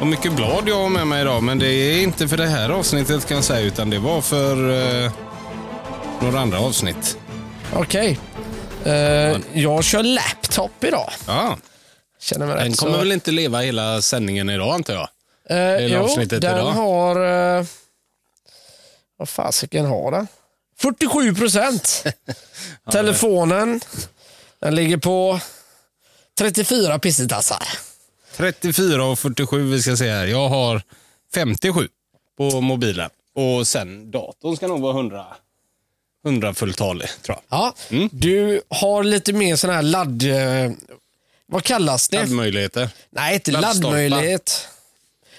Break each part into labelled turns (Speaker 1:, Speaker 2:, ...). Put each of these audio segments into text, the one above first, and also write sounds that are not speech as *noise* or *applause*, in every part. Speaker 1: Och mycket blad jag har med mig idag, men det är inte för det här avsnittet kan jag säga, utan det var för eh, några andra avsnitt.
Speaker 2: Okej. Eh, jag kör laptop idag.
Speaker 1: Ja,
Speaker 2: Känner mig
Speaker 1: den
Speaker 2: rätt
Speaker 1: kommer
Speaker 2: så.
Speaker 1: väl inte leva hela sändningen idag antar jag?
Speaker 2: Eh,
Speaker 1: hela
Speaker 2: jo, den
Speaker 1: avsnittet idag?
Speaker 2: har... Eh, vad fasiken har den?
Speaker 1: *laughs*
Speaker 2: 47 procent. Telefonen, den ligger på 34 pissetassar.
Speaker 1: 34 och 47 vi ska se här. Jag har 57 på mobilen. Och sen datorn ska nog vara 100, 100 fulltalig tror jag.
Speaker 2: Ja, du har lite mer sån här ladd... Eh, vad kallas det?
Speaker 1: Laddmöjligheter.
Speaker 2: Nej, inte
Speaker 1: Laddstolpar.
Speaker 2: laddmöjlighet.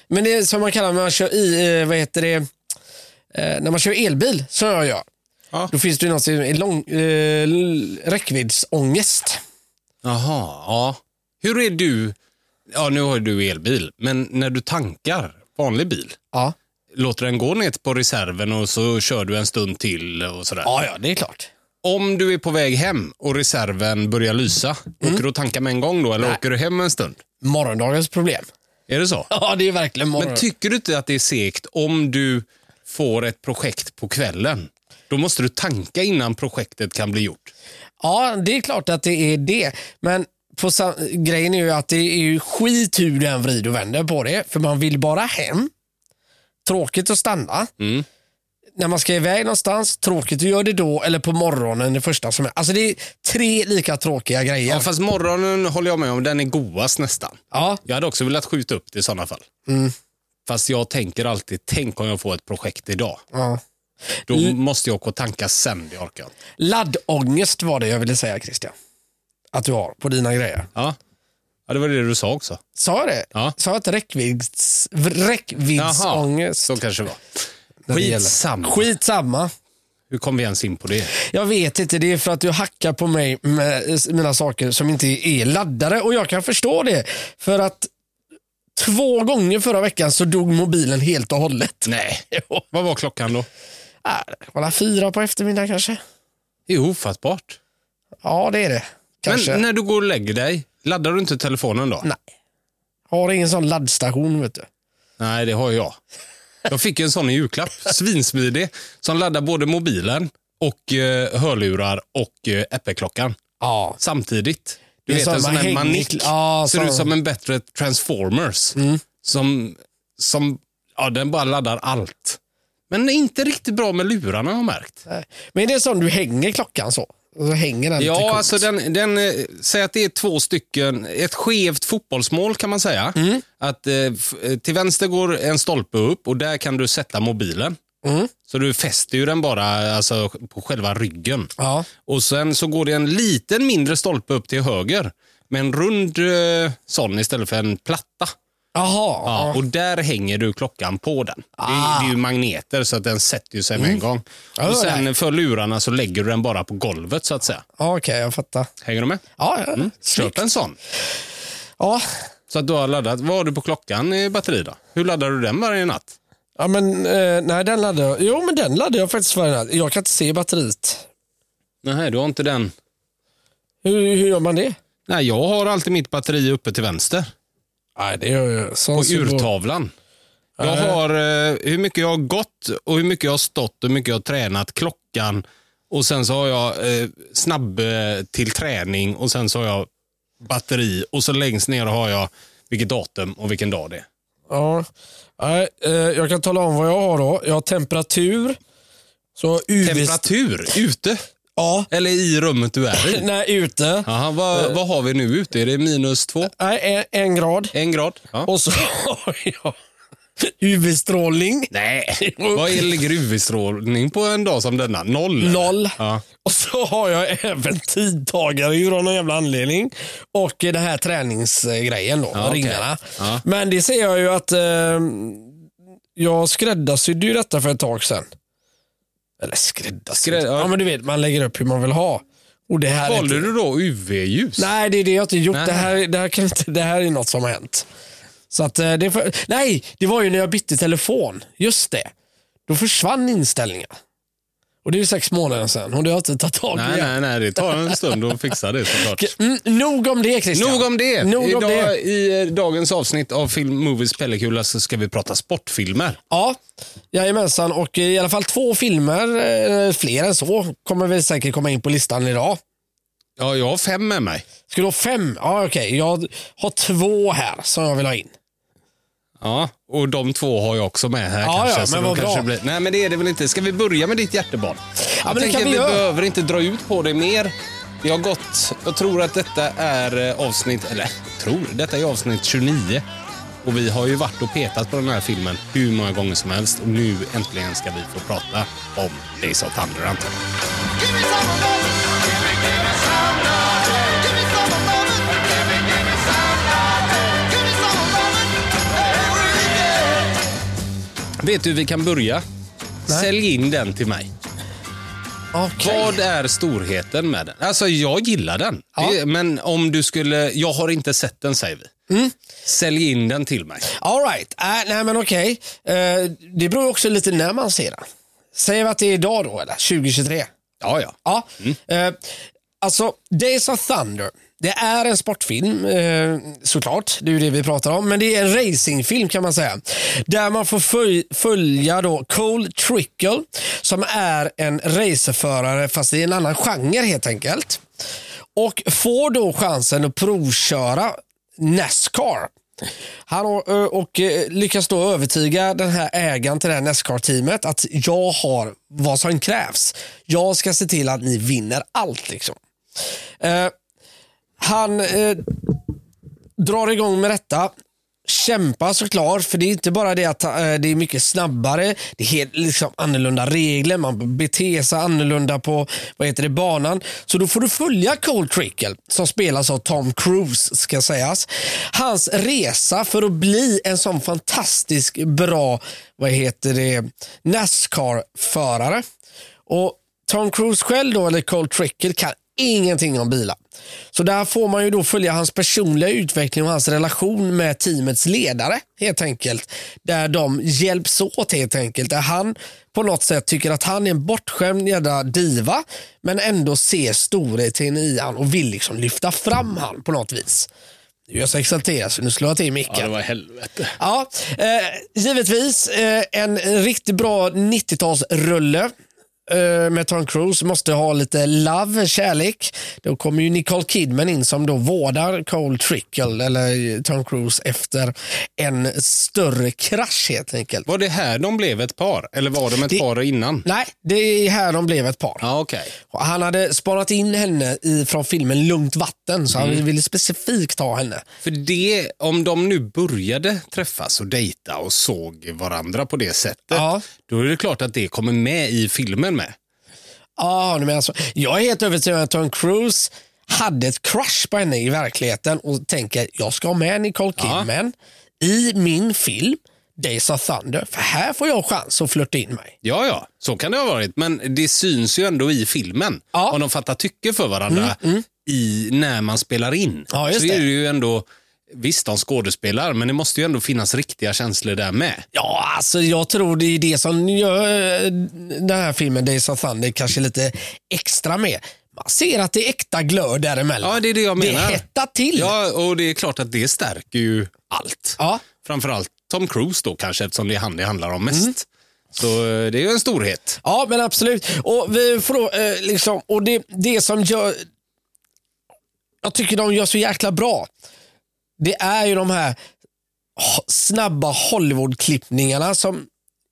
Speaker 2: Men det är som man kallar när man kör i, eh, vad heter det, eh, när man kör elbil, som jag gör.
Speaker 1: Ja.
Speaker 2: Då finns det ju något som är lång, eh, l- räckviddsångest.
Speaker 1: Jaha, ja. Hur är du? Ja, nu har ju du elbil, men när du tankar vanlig bil,
Speaker 2: Ja.
Speaker 1: låter den gå ner på reserven och så kör du en stund till och sådär?
Speaker 2: ja, ja, det är klart.
Speaker 1: Om du är på väg hem och reserven börjar lysa,
Speaker 2: Mm.
Speaker 1: åker du och tankar med en gång då eller åker du hem en stund?
Speaker 2: Morgondagens problem.
Speaker 1: Är det så?
Speaker 2: Ja, det är verkligen
Speaker 1: Men tycker du inte att det är segt om du får ett projekt på kvällen? Då måste du tanka innan projektet kan bli gjort.
Speaker 2: ja, det är klart att det är det. Men på sa- grejen är ju att det är ju skit hur du än vrider och vänder på det. För man vill bara hem. Tråkigt att stanna.
Speaker 1: Mm.
Speaker 2: När man ska iväg någonstans, tråkigt att göra det då eller på morgonen det första som är. Alltså det är tre lika tråkiga grejer.
Speaker 1: Ja, fast morgonen håller jag med om, den är godast nästan.
Speaker 2: Ja,
Speaker 1: Jag hade också velat skjuta upp det i sådana fall.
Speaker 2: Mm.
Speaker 1: Fast jag tänker alltid, tänk om jag får ett projekt idag.
Speaker 2: ja.
Speaker 1: Då måste jag åka och tanka sen, det orkar jag inte.
Speaker 2: Laddångest var det jag ville säga Christian. Att du har på dina grejer.
Speaker 1: Ja. ja, det var det du sa också.
Speaker 2: Sa jag det?
Speaker 1: Ja.
Speaker 2: Sa jag inte räckvidds, räckviddsångest?
Speaker 1: så kanske det var.
Speaker 2: när det gäller-
Speaker 1: Skitsamma.
Speaker 2: Skitsamma.
Speaker 1: Hur kom vi ens in på det?
Speaker 2: Jag vet inte, det är för att du hackar på mig med eh, mina saker som inte är laddare och jag kan förstå det. För att två gånger förra veckan så dog mobilen helt och hållet.
Speaker 1: *laughs* Nej. Vad var klockan då?
Speaker 2: Äh, Kolla fyra på eftermiddagen kanske?
Speaker 1: Det är ofattbart.
Speaker 2: Ja, det är det. Kanske.
Speaker 1: Men när du går och lägger dig, laddar du inte telefonen då?
Speaker 2: Nej. Har ingen sån laddstation vet du.
Speaker 1: Nej, det har jag. Jag fick en sån i julklapp, svinsmidig, som laddar både mobilen och eh, hörlurar och eh, Apple-klockan
Speaker 2: Ja.
Speaker 1: samtidigt. Du
Speaker 2: Det
Speaker 1: vet
Speaker 2: är som
Speaker 1: en sån här
Speaker 2: häng-
Speaker 1: manick.
Speaker 2: Ja,
Speaker 1: Ser
Speaker 2: sån-
Speaker 1: ut som en bättre Transformers.
Speaker 2: Mm.
Speaker 1: Som, som ja, den bara laddar allt. Men det är inte riktigt bra med lurarna har jag märkt.
Speaker 2: Men är det sån du hänger klockan så? Och så hänger den lite
Speaker 1: Ja,
Speaker 2: coolt.
Speaker 1: alltså den, den, eh, säg att det är två stycken, ett skevt fotbollsmål kan man säga.
Speaker 2: Mm.
Speaker 1: Att eh, f- eh, till vänster går en stolpe upp och där kan du sätta mobilen.
Speaker 2: Mm.
Speaker 1: Så du fäster ju den bara alltså, på själva ryggen.
Speaker 2: Ja.
Speaker 1: Och sen så går det en liten mindre stolpe upp till höger. Med en rund eh, sån istället för en platta.
Speaker 2: Jaha.
Speaker 1: Ja,
Speaker 2: Ja. Ah.
Speaker 1: Och där hänger du klockan på den. Det, är, det är ju magneter så att den sätter ju sig med en gång.
Speaker 2: Mm. Ja,
Speaker 1: och
Speaker 2: det var
Speaker 1: sen för lurarna så lägger du den bara på golvet så att säga.
Speaker 2: Okej, jag fattar.
Speaker 1: Hänger du med?
Speaker 2: Ja, ja.
Speaker 1: Köp
Speaker 2: Snyggt.
Speaker 1: en sån.
Speaker 2: Ja.
Speaker 1: Så att du har laddat. Vad har du på klockan i batteri då? Hur laddar du den varje natt?
Speaker 2: Ja men eh, nej den laddade jag. Jo men den laddade jag faktiskt varje natt. Jag kan inte se batteriet.
Speaker 1: Nej, du har inte den.
Speaker 2: Hur, hur gör man det?
Speaker 1: Nej, jag har alltid mitt batteri uppe till vänster.
Speaker 2: Nej det gör jag. Sån
Speaker 1: På
Speaker 2: som går-
Speaker 1: urtavlan. Jag
Speaker 2: Nej.
Speaker 1: har eh, hur mycket jag har gått och hur mycket jag har stått och hur mycket jag har tränat, klockan och sen så har jag eh, snabb eh, till träning och sen så har jag batteri och så längst ner har jag vilket datum och vilken dag det är.
Speaker 2: Ja. Nej, eh, jag kan tala om vad jag har då. Jag har temperatur. Så UV...
Speaker 1: Temperatur ute
Speaker 2: Ja.
Speaker 1: eller i rummet du är i.
Speaker 2: Nej ute.
Speaker 1: Jaha,
Speaker 2: Eh.
Speaker 1: vad, vad har vi nu ute? Är det minus två?
Speaker 2: Nej en, en grad.
Speaker 1: En grad? Ja.
Speaker 2: Och så *laughs* har jag UV-strålning.
Speaker 1: Nej, vad är- ligger UV-strålning på en dag som denna? Noll? eller?
Speaker 2: Noll.
Speaker 1: Ja.
Speaker 2: Och så har jag *laughs* även tidtagare ju av någon jävla anledning. Och den här träningsgrejen då,
Speaker 1: Ja, okej.
Speaker 2: ringarna.
Speaker 1: Ja.
Speaker 2: Men det ser jag ju att eh, jag skräddarsydde ju detta för ett tag sedan. Eller skräddarsydde?
Speaker 1: Skrädd- ja.
Speaker 2: ja. men du vet, man lägger upp hur man vill ha. Och det här är
Speaker 1: Valde
Speaker 2: inte...
Speaker 1: du då UV-ljus?
Speaker 2: Nej, det är det jag inte gjort.
Speaker 1: Nej.
Speaker 2: Det här, det, här kan inte, det här är något som har hänt. Så att, eh, det är för... Nej, det var ju när jag bytte telefon. Just det. Då försvann inställningar. Och det är ju sex månader sedan och det har inte tagit tag i
Speaker 1: Nej,
Speaker 2: än.
Speaker 1: nej, nej. Det tar en stund att fixa det såklart.
Speaker 2: Mm, nog om det Christian.
Speaker 1: Nog om det.
Speaker 2: Nog om
Speaker 1: Idag,
Speaker 2: det.
Speaker 1: I eh, dagens avsnitt av Film Movies Pellekula så ska vi prata sportfilmer.
Speaker 2: Ja, jajamensan. Och eh, i alla fall två filmer, eh, fler än så, kommer vi säkert komma in på listan idag.
Speaker 1: Ja, jag har fem med mig.
Speaker 2: Ska du ha fem? Ja, okej. Jag har två här som jag vill ha in.
Speaker 1: Ja, och de två har jag också med här
Speaker 2: Ja,
Speaker 1: kanske.
Speaker 2: ja,
Speaker 1: så
Speaker 2: men
Speaker 1: de
Speaker 2: vad
Speaker 1: kanske
Speaker 2: bra.
Speaker 1: Blir... Nej, men det är det väl inte. Ska vi börja med ditt hjärtebarn? jag
Speaker 2: men det
Speaker 1: tänker
Speaker 2: kan vi
Speaker 1: vi
Speaker 2: göra.
Speaker 1: behöver inte dra ut på det mer. Vi har gått... Jag tror att detta är eh, avsnitt... Eller, jag tror. Detta är avsnitt 29. Och vi har ju varit och petat på den här filmen hur många gånger som helst. Och nu äntligen ska vi få prata om Days of Thunder, antar jag.
Speaker 3: Give me some of those. Give me some of those. Give me some of those. Every day.
Speaker 1: Vet du hur vi kan börja? Sälj in den till mig.
Speaker 2: Okej.
Speaker 1: Vad är storheten med den? Alltså jag gillar den.
Speaker 2: Ja.
Speaker 1: Det, men om du skulle, jag har inte sett den säger vi.
Speaker 2: Mm.
Speaker 1: Sälj in den till mig.
Speaker 2: All right. Äh, nej, men okej. Eh, det beror ju också lite när man ser den. Säger vi att det är idag då, eller? 2023?
Speaker 1: Ja, ja.
Speaker 2: Ja. Eh, alltså, Days of Thunder. Det är en sportfilm, eh, såklart. Det är ju det vi pratar om. Men det är en racingfilm kan man säga. Där man får föl- följa då Cole Trickle som är en racerförare fast i en annan genre helt enkelt. Och får då chansen att provköra Nascar. Han och, och eh, lyckas då övertyga den här ägaren till det här Nascar-teamet att jag har vad som krävs. Jag ska se till att ni vinner allt. liksom. Eh, han eh, drar igång med detta. Kämpar såklart, för det är inte bara det att eh, det är mycket snabbare. Det är helt liksom, annorlunda regler, man beter sig annorlunda på vad heter det, banan. Så då får du följa Cole Trickle, som spelas av Tom Cruise, ska sägas. Hans resa för att bli en sån fantastisk bra, vad heter det, Nascar-förare. Och Tom Cruise själv då, eller Cole Trickle, kan ingenting om bilar. Så där får man ju då följa hans personliga utveckling och hans relation med teamets ledare helt enkelt. Där de hjälps åt helt enkelt. Där han på något sätt tycker att han är en bortskämd jädra diva men ändå ser storheten i han och vill liksom lyfta fram han på något vis. Nu är jag så exalterad så nu slår jag till micken.
Speaker 1: var helvete.
Speaker 2: Ja, eh, givetvis eh, en riktigt bra 90-talsrulle eh, med Tom Cruise. Måste ha lite love, kärlek. Då kommer ju Nicole Kidman in som då vårdar Cole Trickle eller Tom Cruise efter en större krasch helt enkelt.
Speaker 1: Var det här de blev ett par? Eller var de ett
Speaker 2: Det-
Speaker 1: par innan?
Speaker 2: Nej, det är här de blev ett par.
Speaker 1: Ja, okej.
Speaker 2: Han hade sparat in henne i, från filmen Lugnt vatten så han ville specifikt ha henne.
Speaker 1: För det, om de nu började träffas och dejta och såg varandra på det sättet,
Speaker 2: Ja.
Speaker 1: då är det klart att det kommer med i filmen med.
Speaker 2: Ja, du menar så. Jag är helt övertygad om att Tom Cruise hade ett crush på henne i verkligheten och tänker jag ska ha med Nicole Kidman i min film Days of Thunder. För här får jag chans att flirta in mig.
Speaker 1: Ja, ja, så kan det ha varit. Men det syns ju ändå i filmen.
Speaker 2: Ja. Mm,
Speaker 1: Om de fattar tycke för varandra I, när man spelar in.
Speaker 2: Ja, just
Speaker 1: så är
Speaker 2: det.
Speaker 1: det ju ändå, visst de skådespelar, men det måste ju ändå finnas riktiga känslor där med.
Speaker 2: Ja, alltså jag tror det är det som gör eh, den här filmen Days of Thunder kanske lite extra med. Man ser att det är äkta glöd däremellan.
Speaker 1: Ja, det är det jag menar.
Speaker 2: Det hettar till.
Speaker 1: Ja, och det är klart att det stärker ju allt.
Speaker 2: Ja.
Speaker 1: Framförallt Tom Cruise då kanske, eftersom det är han det handlar om mest.
Speaker 2: Mm.
Speaker 1: Så eh, det är ju en storhet.
Speaker 2: Ja, men absolut. Och, vi får då, eh, liksom, och det, det som gör... Jag tycker de gör så jäkla bra. Det är ju de här ho- snabba Hollywood-klippningarna som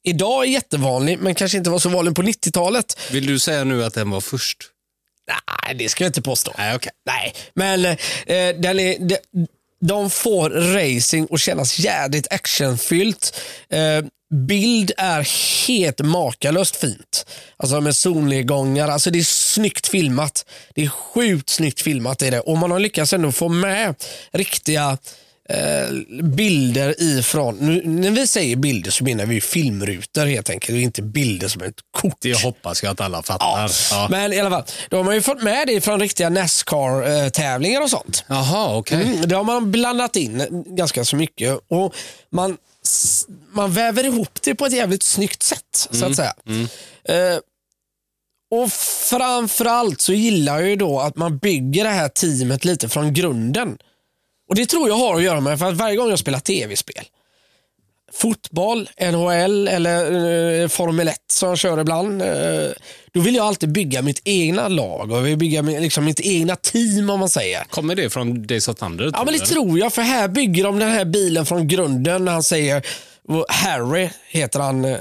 Speaker 2: idag är jättevanlig, men kanske inte var så vanlig på 90-talet.
Speaker 1: Vill du säga nu att den var först?
Speaker 2: Nej, det ska jag inte påstå.
Speaker 1: Nej, okej.
Speaker 2: Nej, men eh, den är, de, de får racing och kännas jädrigt actionfyllt. Eh, bild är helt makalöst fint. Alltså med solnedgångar. Alltså det är snyggt filmat. Det är sjukt snyggt filmat. Är det. Och man har lyckats ändå få med riktiga eh, bilder ifrån. Nu, när vi säger bilder så menar vi ju filmrutor helt enkelt och inte bilder som ett kort.
Speaker 1: Det hoppas jag att alla fattar. Ja.
Speaker 2: Men i alla fall, de har ju fått med det från riktiga Nascar-tävlingar eh, och sånt.
Speaker 1: Jaha, okej.
Speaker 2: Mm, det har man blandat in ganska så mycket och man, s- man väver ihop det på ett jävligt snyggt sätt. så att säga. Eh, Och framförallt så gillar jag ju då att man bygger det här teamet lite från grunden. Och det tror jag har att göra med för att varje gång jag spelar tv-spel, fotboll, NHL eller eh, Formel 1 som jag kör ibland, eh, då vill jag alltid bygga mitt egna lag och jag vill bygga min, liksom, mitt egna team om man säger.
Speaker 1: Kommer det från Days of Thunder?
Speaker 2: Ja, men det tror jag. För här bygger de den här bilen från grunden när han säger Harry heter han eh,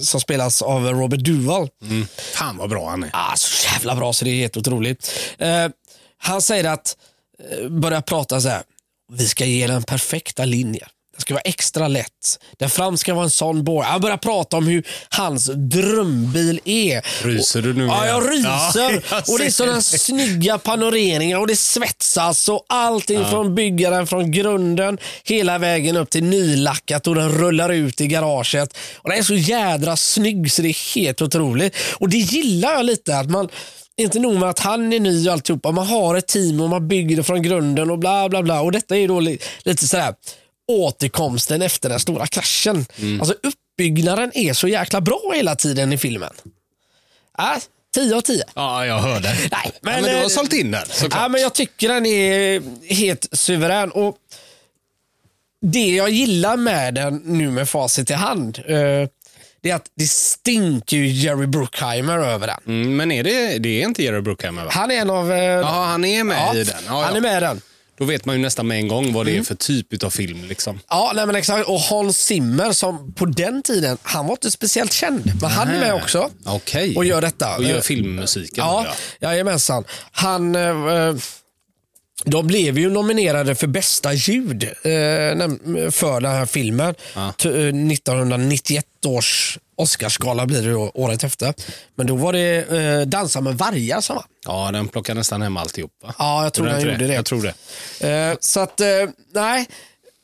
Speaker 2: som spelas av Robert Duvall.
Speaker 1: Mm. Fan vad bra han är.
Speaker 2: Ah, så jävla bra så det är helt otroligt. Eh, han säger att, eh, börjar prata så här, vi ska ge den perfekta linjen. Den ska vara extra lätt. Den fram ska vara en sån bår. Han börjar prata om hur hans drömbil är.
Speaker 1: Ryser du nu?
Speaker 2: Ja, jag
Speaker 1: igen?
Speaker 2: ryser.
Speaker 1: Ja, *laughs* jag
Speaker 2: och det är
Speaker 1: ser
Speaker 2: sådana snygga panoreringar och det svetsas och allting från byggaren från grunden hela vägen upp till nylackat och den rullar ut i garaget. Och den är så jädra snygg så det är helt otroligt. Och det gillar jag lite att man inte nog med att han är ny och alltihopa, man har ett team och man bygger det från grunden och bla bla bla. Och detta är då li- lite sådär återkomsten efter den stora kraschen. Alltså uppbyggnaden är så jäkla bra hela tiden i filmen. Ja, 10 av 10.
Speaker 1: Ja, jag hörde.
Speaker 2: Nej,
Speaker 1: Men, ja, men du
Speaker 2: eh,
Speaker 1: har sålt in den såklart.
Speaker 2: ja, men Jag tycker den är helt suverän. Och det jag gillar med den nu med facit i hand, eh, det är att det stinker ju Jerry Bruckheimer över den.
Speaker 1: Mm, men är det, det är inte Jerry Bruckheimer va?
Speaker 2: Han är en av... eh,
Speaker 1: Ja, han är med i den. Ja,
Speaker 2: Han
Speaker 1: ja.
Speaker 2: är med Mm. i den.
Speaker 1: Då vet man ju nästan med en gång vad det är för typ av film. Liksom.
Speaker 2: Ja, nej men exakt. Och Hans Zimmer som på den tiden, han var inte speciellt känd. Men han är med också.
Speaker 1: Okej.
Speaker 2: Och gör detta.
Speaker 1: Och
Speaker 2: Eh,
Speaker 1: gör filmmusiken.
Speaker 2: Ja,
Speaker 1: ja.
Speaker 2: jajamensan. Han, eh, eh, de blev ju nominerade för bästa ljud eh, näm- för den här filmen. T- eh, 1991 års Oscarsgala blir det då, året efter. Men då var det eh, Dansa med vargar som vann.
Speaker 1: Ja, den plockar nästan hem alltihop va?
Speaker 2: Ja, jag tror
Speaker 1: den
Speaker 2: han
Speaker 1: inte
Speaker 2: gjorde det.
Speaker 1: Jag tror det.
Speaker 2: Eh, så att, eh, nej.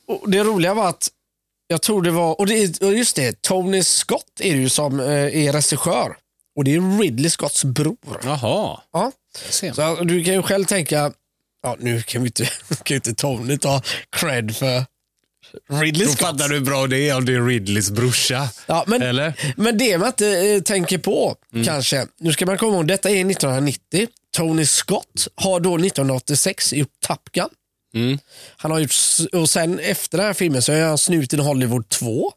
Speaker 2: Och Det roliga var att jag tror det var, och, det, och just det, Tony Scott är det ju som eh, är regissör. Och det är Ridley Scotts bror.
Speaker 1: Jaha,
Speaker 2: Ja.
Speaker 1: jag ser.
Speaker 2: Så att du kan ju själv tänka, ja, nu kan vi inte, *laughs* kan ju inte Tony ta cred för Ridley
Speaker 1: Då
Speaker 2: Scott.
Speaker 1: fattar du hur bra det är om det är Ridleys brorsa.
Speaker 2: Ja, men,
Speaker 1: Eller? Mm.
Speaker 2: men det man inte eh, tänker på kanske, nu ska man komma ihåg, detta är 1990. Tony Scott har då 1986 gjort Top Gun.
Speaker 1: Mm.
Speaker 2: Han har gjort, s- och sen efter den här filmen så har han Snuten i Hollywood 2.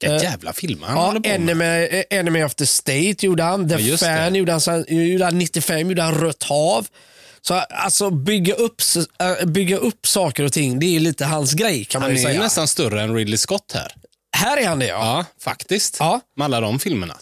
Speaker 1: Vilka jävla filmer han
Speaker 2: Eh, Ja,
Speaker 1: håller på med.
Speaker 2: Enemy, eh, Enemy of the State gjorde han, The
Speaker 1: Ja, just
Speaker 2: Fan
Speaker 1: det.
Speaker 2: gjorde han, sen- gjorde han 95 gjorde han Rött hav. Så alltså bygga upp, s- eh, bygga upp saker och ting, det är lite hans grej kan man
Speaker 1: Han
Speaker 2: ju
Speaker 1: är ju
Speaker 2: säga.
Speaker 1: nästan större än Ridley Scott här.
Speaker 2: Här är han det ja.
Speaker 1: Ja, faktiskt.
Speaker 2: Ja.
Speaker 1: Med alla de filmerna.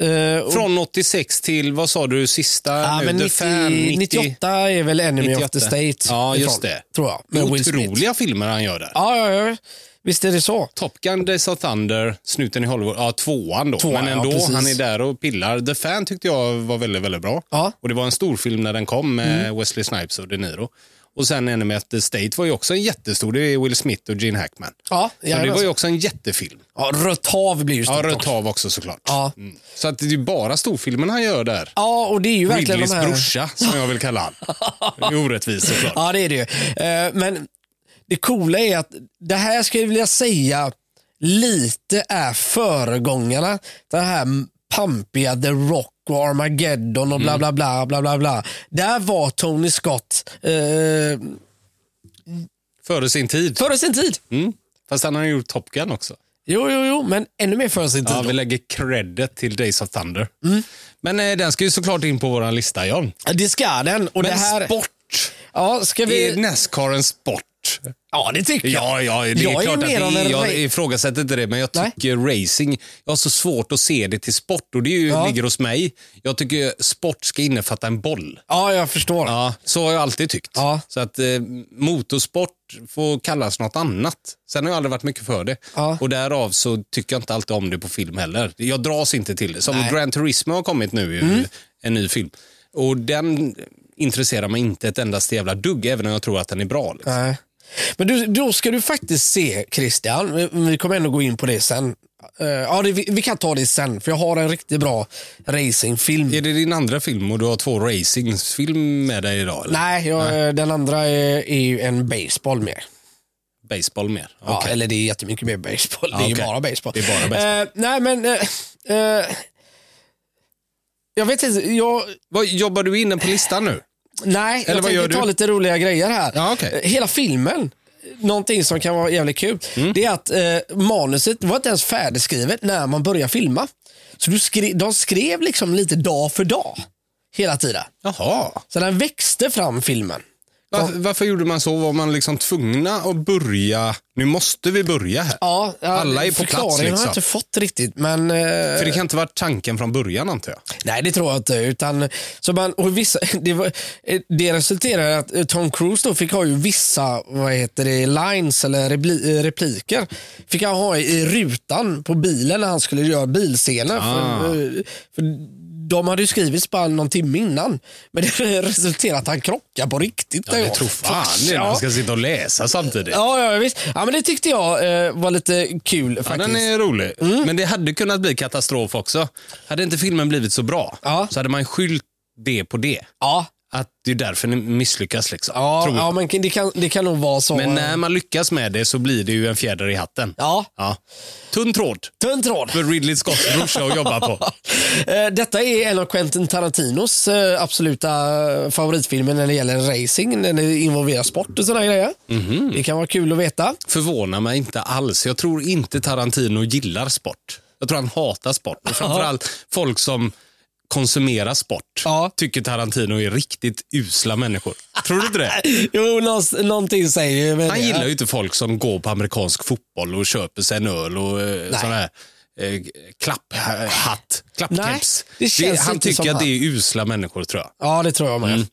Speaker 2: Eh, och,
Speaker 1: Från 86 till, vad sa du, sista
Speaker 2: ja
Speaker 1: nu?
Speaker 2: men
Speaker 1: The
Speaker 2: 90,
Speaker 1: Fan,
Speaker 2: 98 är väl Enemy of the
Speaker 1: 98.
Speaker 2: State.
Speaker 1: Ja, just
Speaker 2: ifrån,
Speaker 1: det.
Speaker 2: Tror jag.
Speaker 1: Det är
Speaker 2: Med Will Smith.
Speaker 1: Otroliga filmer han gör där.
Speaker 2: Ja, ja, ja, visst är det så.
Speaker 1: Top Gun, Days of Thunder, Snuten i Hollywood. Ja, tvåan då.
Speaker 2: Tvåan,
Speaker 1: men
Speaker 2: ja,
Speaker 1: ändå,
Speaker 2: precis.
Speaker 1: han är där och pillar. The Fan tyckte jag var väldigt, väldigt bra.
Speaker 2: Ja. Mm.
Speaker 1: Och det var en stor film när den kom med Wesley Snipes och De Niro. Och sen Enemy at the State var ju också en jättestor. Det är Will Smith och Gene Hackman.
Speaker 2: Ja,
Speaker 1: Så det var ju
Speaker 2: jajamensan.
Speaker 1: också en jättefilm.
Speaker 2: ja, Rött hav blir ju
Speaker 1: Ja,
Speaker 2: stort
Speaker 1: Rött
Speaker 2: också.
Speaker 1: hav också såklart.
Speaker 2: Ja.
Speaker 1: Mm. Så att det är ju bara storfilmerna han gör där.
Speaker 2: Ja, och det är ju verkligen
Speaker 1: Ridleys
Speaker 2: de här...
Speaker 1: brorsa, som jag vill kalla han. Det
Speaker 2: *laughs*
Speaker 1: är orättvist såklart.
Speaker 2: Ja, det är det ju. Eh, Men det coola är att det här skulle jag vilja säga lite är föregångarna. Den här pampiga The Rock och Armageddon och bla
Speaker 1: Mm.
Speaker 2: bla bla. bla, bla, bla. Där var Tony Scott eh,
Speaker 1: Före sin tid.
Speaker 2: före sin tid.
Speaker 1: Mm. Fast han har ju gjort Top Gun också.
Speaker 2: Jo, jo, jo, men ännu mer före sin tid.
Speaker 1: Ja, vi lägger credit till Days of Thunder. Men eh, den ska ju såklart in på vår lista, John.
Speaker 2: Det ska den.
Speaker 1: Men
Speaker 2: Och det här,
Speaker 1: sport.
Speaker 2: ja, ska
Speaker 1: Är
Speaker 2: vi...
Speaker 1: Nascar en sport?
Speaker 2: ja, det tycker jag.
Speaker 1: Ja, ja, det är
Speaker 2: Jag är
Speaker 1: klart att det
Speaker 2: mer av
Speaker 1: är,
Speaker 2: en ra-
Speaker 1: jag ifrågasätter inte det, men jag
Speaker 2: Nej.
Speaker 1: tycker racing, jag har så svårt att se det till sport och det är ju,
Speaker 2: Ja.
Speaker 1: ligger hos mig. Jag tycker sport ska innefatta en boll.
Speaker 2: Ja, jag förstår.
Speaker 1: Ja, så har jag alltid tyckt.
Speaker 2: Ja.
Speaker 1: Så att eh, motorsport får kallas något annat. Sen har jag aldrig varit mycket för det.
Speaker 2: Ja.
Speaker 1: Och därav så tycker jag inte alltid om det på film heller. Jag dras inte till det. Som Gran Turismo har kommit nu, ju,
Speaker 2: Mm.
Speaker 1: en ny film. Och den intresserar mig inte ett endast jävla dugg, även om jag tror att den är bra. Liksom.
Speaker 2: Nej. Men du, då ska du faktiskt se Christian, vi- vi kommer ändå gå in på det sen. Eh, ja, det, vi, vi kan ta det sen, för jag har en riktigt bra racingfilm.
Speaker 1: Är det din andra film och du har två racingfilm med dig idag? Eller?
Speaker 2: Nej, jag, eh, den andra är, är ju en baseball mer.
Speaker 1: Baseball mer?
Speaker 2: Ja,
Speaker 1: Okej.
Speaker 2: Eller det är jättemycket mer baseball. Eh, Det är ju
Speaker 1: okej.
Speaker 2: bara baseball.
Speaker 1: Det är bara
Speaker 2: Eh, nej, men... eh, eh, Jag vet inte, jag,
Speaker 1: Vad, jobbar du inne på listan nu?
Speaker 2: nej,
Speaker 1: Eller
Speaker 2: jag
Speaker 1: vad gör
Speaker 2: tänker
Speaker 1: du?
Speaker 2: ta lite roliga grejer här. Eh,
Speaker 1: Ja, okej.
Speaker 2: Hela filmen, någonting som kan vara jävligt kul,
Speaker 1: Mm.
Speaker 2: det är att eh, manuset var inte ens färdigskrivet när man började filma. Så du skre, de skrev liksom lite dag för dag, hela tiden.
Speaker 1: Jaha.
Speaker 2: Så den växte fram filmen.
Speaker 1: Varför, varför gjorde man så? Var man liksom tvungna att börja? Nu måste vi börja här.
Speaker 2: Ja, ja,
Speaker 1: Alla är på plats,
Speaker 2: förklaringen har
Speaker 1: liksom.
Speaker 2: jag inte fått riktigt, men... eh,
Speaker 1: För det kan inte varit tanken från början antar jag.
Speaker 2: Nej, det tror jag inte. Utan, så man, och vissa, *laughs* det, var, det resulterade i att eh, Tom Cruise då fick ha ju vissa vad heter det, lines eller repli, eh, repliker. Fick han ha i rutan på bilen när han skulle göra bilscener.
Speaker 1: Ah.
Speaker 2: För, eh, för de hade ju skrivits bara någon timme innan. Men *laughs* det resulterade i att han krockade på riktigt.
Speaker 1: Ja, det
Speaker 2: jag.
Speaker 1: tror fan det är när
Speaker 2: ja.
Speaker 1: man ska sitta och läsa samtidigt.
Speaker 2: Ja, ja, visst. Ja, men det tyckte jag eh, var lite kul
Speaker 1: Ja,
Speaker 2: faktiskt. Mm.
Speaker 1: den är rolig. Men det hade kunnat bli katastrof också. Hade inte filmen blivit så bra
Speaker 2: Ja.
Speaker 1: så hade man skyllt det på det.
Speaker 2: Ja,
Speaker 1: Att det är därför ni misslyckas. Liksom,
Speaker 2: ja,
Speaker 1: tror jag.
Speaker 2: ja, men det kan, det kan nog vara så.
Speaker 1: Men eh, när man lyckas med det så blir det ju en fjäder i hatten.
Speaker 2: Ja,
Speaker 1: Ja. Tunn tråd
Speaker 2: tunn tråd.
Speaker 1: för Ridley Scotts brorsa att jobba på.
Speaker 2: *laughs* Eh, Detta är en av Quentin Tarantinos eh, absoluta eh, favoritfilmer när det gäller racing, när det involverar sport och sådana grejer.
Speaker 1: Mhm.
Speaker 2: Det kan vara kul att veta.
Speaker 1: Förvånar mig inte alls. Jag tror inte Tarantino gillar sport. Jag tror han hatar sport. Och framförallt folk som konsumerar sport
Speaker 2: Ja.
Speaker 1: tycker Tarantino är riktigt usla människor. Tror du inte
Speaker 2: *laughs*
Speaker 1: det?
Speaker 2: Jo, någonst- någonting säger ju med
Speaker 1: Han
Speaker 2: det.
Speaker 1: gillar ju inte folk som går på amerikansk fotboll och köper sig en öl och eh, sån här eh, klapphatt, klappkeps.
Speaker 2: Nej, det känns
Speaker 1: han
Speaker 2: inte
Speaker 1: tycker
Speaker 2: som
Speaker 1: att det är usla människor tror jag.
Speaker 2: Ja, det tror jag med.
Speaker 1: Mm.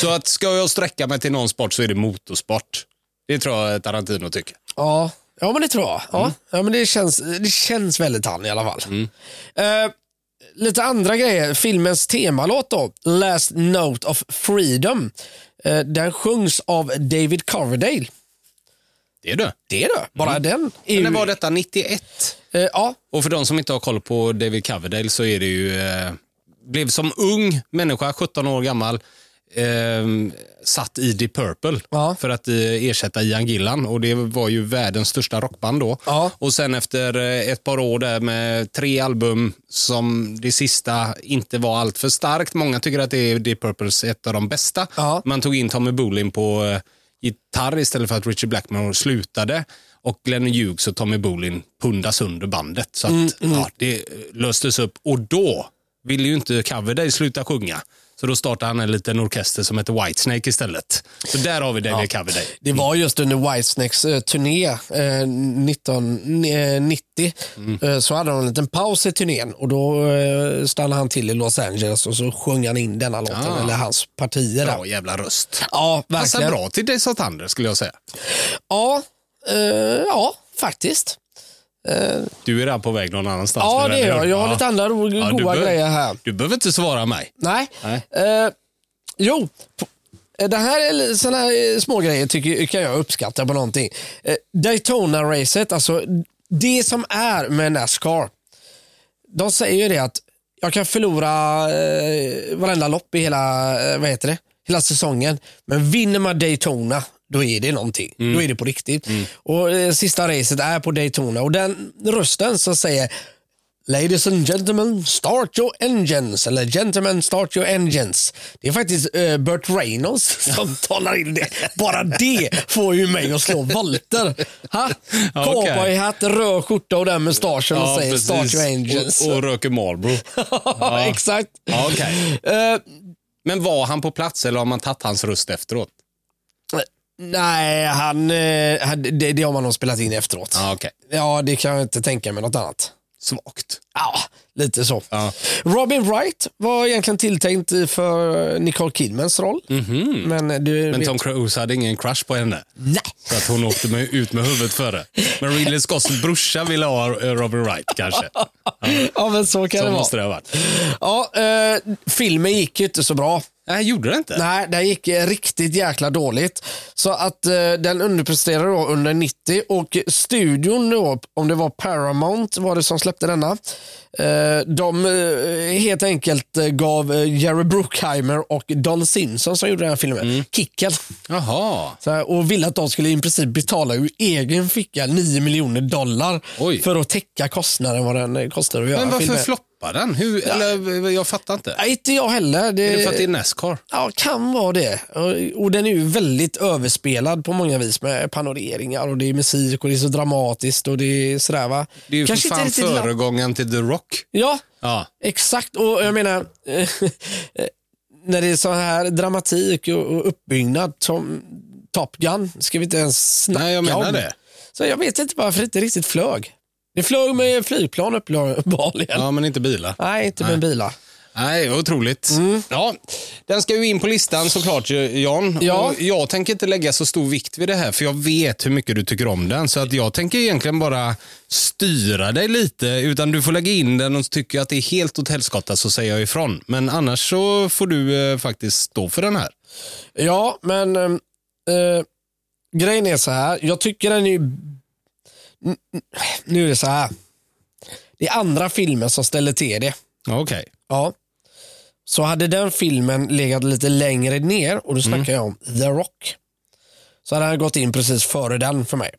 Speaker 1: Så att ska jag sträcka mig till någon sport så är det motorsport. Det tror jag Tarantino tycker.
Speaker 2: Ja. ja, men det tror jag. Ja.
Speaker 1: Mm.
Speaker 2: Ja, men det, känns, det känns väldigt han i alla fall. Eh, lite andra grejer. Filmens temalåt då, Last Note of Freedom. Eh, den sjungs av David Coverdale.
Speaker 1: Det är du.
Speaker 2: Det är det. Bara den. Är ju,
Speaker 1: Mm. När var detta? 91?
Speaker 2: eh, ja,
Speaker 1: Och för de som inte har koll på David Coverdale så är det ju... Eh, blev som ung människa, 17 år gammal, eh, satt i Deep Purple
Speaker 2: Ja.
Speaker 1: för att eh, ersätta Ian Gillan. Och det var ju världens största rockband då.
Speaker 2: Ja.
Speaker 1: Och sen efter eh, ett par år där med tre album som det sista inte var allt för starkt. Många tycker att det är Deep Purples ett av de bästa.
Speaker 2: Ja.
Speaker 1: Man tog in Tommy Bolin på eh, gitarr istället för att Richie Blackmore slutade. Och Glenn Hughes och Tommy Bolin pundas under bandet. Så
Speaker 2: Mm,
Speaker 1: att, Ja, det eh, löstes upp. Och då ville ju inte Coverdale sluta sjunga. Så då startade han en liten orkester som heter Whitesnake istället. Så där har vi David Coverdale.
Speaker 2: Det var just under Whitesnakes eh, turné eh, 1990.
Speaker 1: Mm.
Speaker 2: Eh, så hade de en liten paus i turnén och då eh, stannade han till i Los Angeles och så sjöng han in denna låten,
Speaker 1: Ah.
Speaker 2: eller hans partier. där.
Speaker 1: Bra jävla röst.
Speaker 2: Ja,
Speaker 1: Passar
Speaker 2: verkligen.
Speaker 1: bra till Days of Thunder skulle jag säga.
Speaker 2: Ja, eh, ja, faktiskt.
Speaker 1: Du är redan på väg någon annanstans.
Speaker 2: Ja,
Speaker 1: med
Speaker 2: det
Speaker 1: den,
Speaker 2: är jag.
Speaker 1: eller hur?
Speaker 2: Jag har
Speaker 1: Ja.
Speaker 2: lite andra ro-
Speaker 1: Ja, du
Speaker 2: goa
Speaker 1: bör-
Speaker 2: grejer här.
Speaker 1: Du behöver inte svara mig.
Speaker 2: Nej.
Speaker 1: Nej.
Speaker 2: Eh, jo, p- eh, det här är li- såna här eh, små grejer tycker, kan jag uppskatta på någonting. Eh, Daytona-racet, alltså det som är med Nascar. De säger ju det att jag kan förlora eh, varenda lopp i hela, eh, vad heter det? hela säsongen. Men vinner man Daytona, då är det någonting.
Speaker 1: Mm.
Speaker 2: Då är det på riktigt. Och eh, Sista racet är på Daytona och den rösten som säger Ladies and gentlemen, start your engines. Eller gentlemen, start your engines. Det är faktiskt eh, Burt Reynolds *laughs* som talar in det. Bara det får ju mig att slå volter. Ha?
Speaker 1: *laughs* Ja, okej.
Speaker 2: Cowboyhatt, röd skjorta och den mustaschen och säger start your engines.
Speaker 1: Och, och röker Marlboro.
Speaker 2: ja. Exakt.
Speaker 1: Ja, *laughs* okej.
Speaker 2: Eh,
Speaker 1: Men var han på plats eller har man tagit hans röst efteråt?
Speaker 2: nej, han, eh, han, det, det har man nog spelat in efteråt.
Speaker 1: Ja, okej.
Speaker 2: Ja, det kan jag inte tänka mig något annat.
Speaker 1: Svagt.
Speaker 2: Ja, lite så.
Speaker 1: Ja.
Speaker 2: Robin Wright var egentligen tilltänkt för Nicole Kidmans roll. Men, du,
Speaker 1: Mhm. Men Tom Cruise hade ingen crush på henne.
Speaker 2: Nej.
Speaker 1: Så att hon åkte med, ut med huvudet före. Men Ridley Scotts brorsa ville ha eh, Robin Wright kanske.
Speaker 2: *laughs* Ja, men så kan
Speaker 1: Så
Speaker 2: det vara.
Speaker 1: måste det ha varit.
Speaker 2: Ja, eh, filmen gick ju inte så bra.
Speaker 1: Nej, gjorde det inte?
Speaker 2: Nej, den gick eh, riktigt jäkla dåligt. Så att eh, den underpresterade då under 90 och studion då, om det var Paramount var det som släppte denna. Eh, de eh, helt enkelt eh, gav eh, Jerry Bruckheimer och Don Simpson som gjorde den här filmen
Speaker 1: Mm.
Speaker 2: kicken.
Speaker 1: Jaha.
Speaker 2: Så här, och ville att de skulle i princip betala ur egen ficka 9 miljoner dollar
Speaker 1: Oj.
Speaker 2: för att täcka kostnaden vad den eh, kostar att göra
Speaker 1: Men varför
Speaker 2: filmen.
Speaker 1: floppade släppa den? Hur, eller, eh, jag fattar inte.
Speaker 2: Nej, eh, inte jag heller. Det,
Speaker 1: Är det för att det är Nascar?
Speaker 2: Ja, kan vara det. Och- Och den är ju väldigt överspelad på många vis med panoreringar och det är musik och det är så dramatiskt och det är sådär va.
Speaker 1: Det är ju
Speaker 2: Kanske
Speaker 1: för
Speaker 2: inte
Speaker 1: fan
Speaker 2: riktigt la-
Speaker 1: föregångaren till The Rock.
Speaker 2: Ja,
Speaker 1: Ja.
Speaker 2: exakt. Och jag menar, eh, *laughs* när det är så här dramatik och- och uppbyggnad som Top Gun ska vi inte ens snacka
Speaker 1: Nej, jag menar
Speaker 2: om.
Speaker 1: det.
Speaker 2: Så jag vet inte varför det inte riktigt flög. Det flög med flygplan *laughs* uppenbarligen.
Speaker 1: ja, men inte bilar.
Speaker 2: Nej, inte med bilar.
Speaker 1: Nej, otroligt. Ja, den ska ju in på listan såklart Jan.
Speaker 2: Ja.
Speaker 1: Och jag tänker inte lägga så stor vikt vid det här för jag vet hur mycket du tycker om den. Så att jag tänker egentligen bara styra dig lite utan du får lägga in den och tycker jag att det är helt åt helskotta så säger jag ifrån. Men annars så får du eh, faktiskt stå för den här.
Speaker 2: Ja, men ehm, eh, grejen är så här. Jag tycker den är ju... N- n- Nu är det så här. Det är andra filmer som ställer till det.
Speaker 1: Ja, Okej.
Speaker 2: Ja. Så hade den filmen legat lite längre ner, och då snackar jag om The Rock, så hade han gått in precis före den för mig.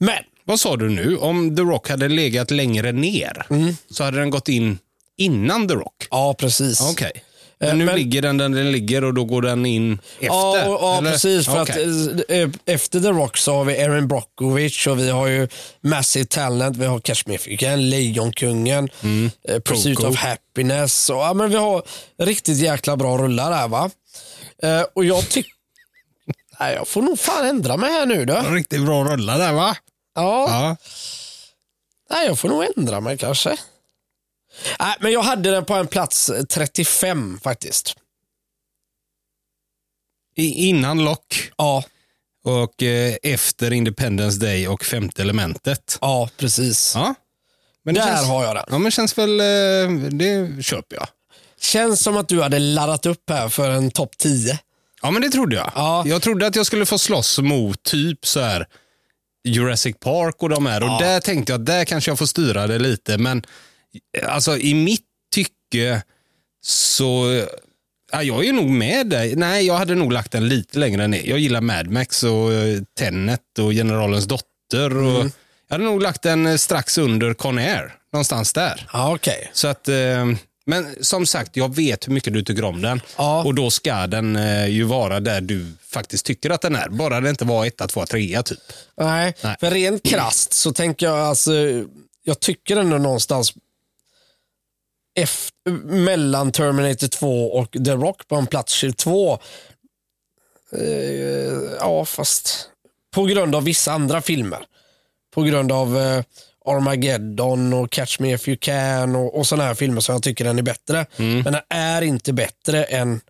Speaker 2: Men,
Speaker 1: Vad sa du nu? Om The Rock hade legat längre ner så hade den gått in innan The Rock?
Speaker 2: ja precis.
Speaker 1: Okej. Eh, Men nu
Speaker 2: men-
Speaker 1: ligger den där den ligger och då går den in efter?
Speaker 2: Ja, och, ja
Speaker 1: eller?
Speaker 2: precis. För
Speaker 1: Okej.
Speaker 2: att, eh, efter The Rock så har vi Aaron Brockovich och vi har ju Massive Talent, vi har Kashmirflickan, Lejonkungen, eh, Pursuit
Speaker 1: Mm. Coco.
Speaker 2: of Happiness. Och, ja, men vi har riktigt jäkla bra rullar där va. Eh, och
Speaker 1: *laughs*
Speaker 2: jag tycker... Nej, jag får nog fan ändra mig här nu då.
Speaker 1: Riktigt bra rulla där va?
Speaker 2: Ja,
Speaker 1: Ja.
Speaker 2: nej, jag får nog ändra mig kanske. Nej, men jag hade den på en plats 35 faktiskt.
Speaker 1: I, innan Lock
Speaker 2: Ja,
Speaker 1: och eh, efter Independence Day och Femte elementet.
Speaker 2: ja precis.
Speaker 1: Ja. Men det
Speaker 2: Där
Speaker 1: känns,
Speaker 2: har jag den.
Speaker 1: Ja men känns väl, eh, det köper jag.
Speaker 2: Känns som att du hade laddat upp här för en topp 10.
Speaker 1: Ja men det trodde jag.
Speaker 2: Ja.
Speaker 1: Jag trodde att jag skulle få slåss mot typ så här Jurassic Park och de här och där tänkte jag att där kanske jag får styra det lite men alltså i mitt tycke så Ja, jag är nog med dig. Nej, jag hade nog lagt den lite längre ner. Jag gillar Mad Max och eh, Tenet och Generalens dotter. Och Jag hade nog lagt den eh, strax under Con Air. Någonstans där.
Speaker 2: Ja, okej.
Speaker 1: Så att, eh, men som sagt, jag vet hur mycket du tycker om den.
Speaker 2: Ja.
Speaker 1: Och då ska den eh, ju vara där du faktiskt tycker att den är. Bara det inte var etta, tvåa, trea typ.
Speaker 2: Nej,
Speaker 1: Nej.
Speaker 2: för rent krasst så tänker jag alltså, jag tycker ändå någonstans efter, mellan Terminator 2 och The Rock på en plats 22. Eh, ja, fast på grund av vissa andra filmer. På grund av eh, Armageddon och Catch Me If You Can och, och sådana här filmer som jag tycker den är bättre. Men den är inte bättre än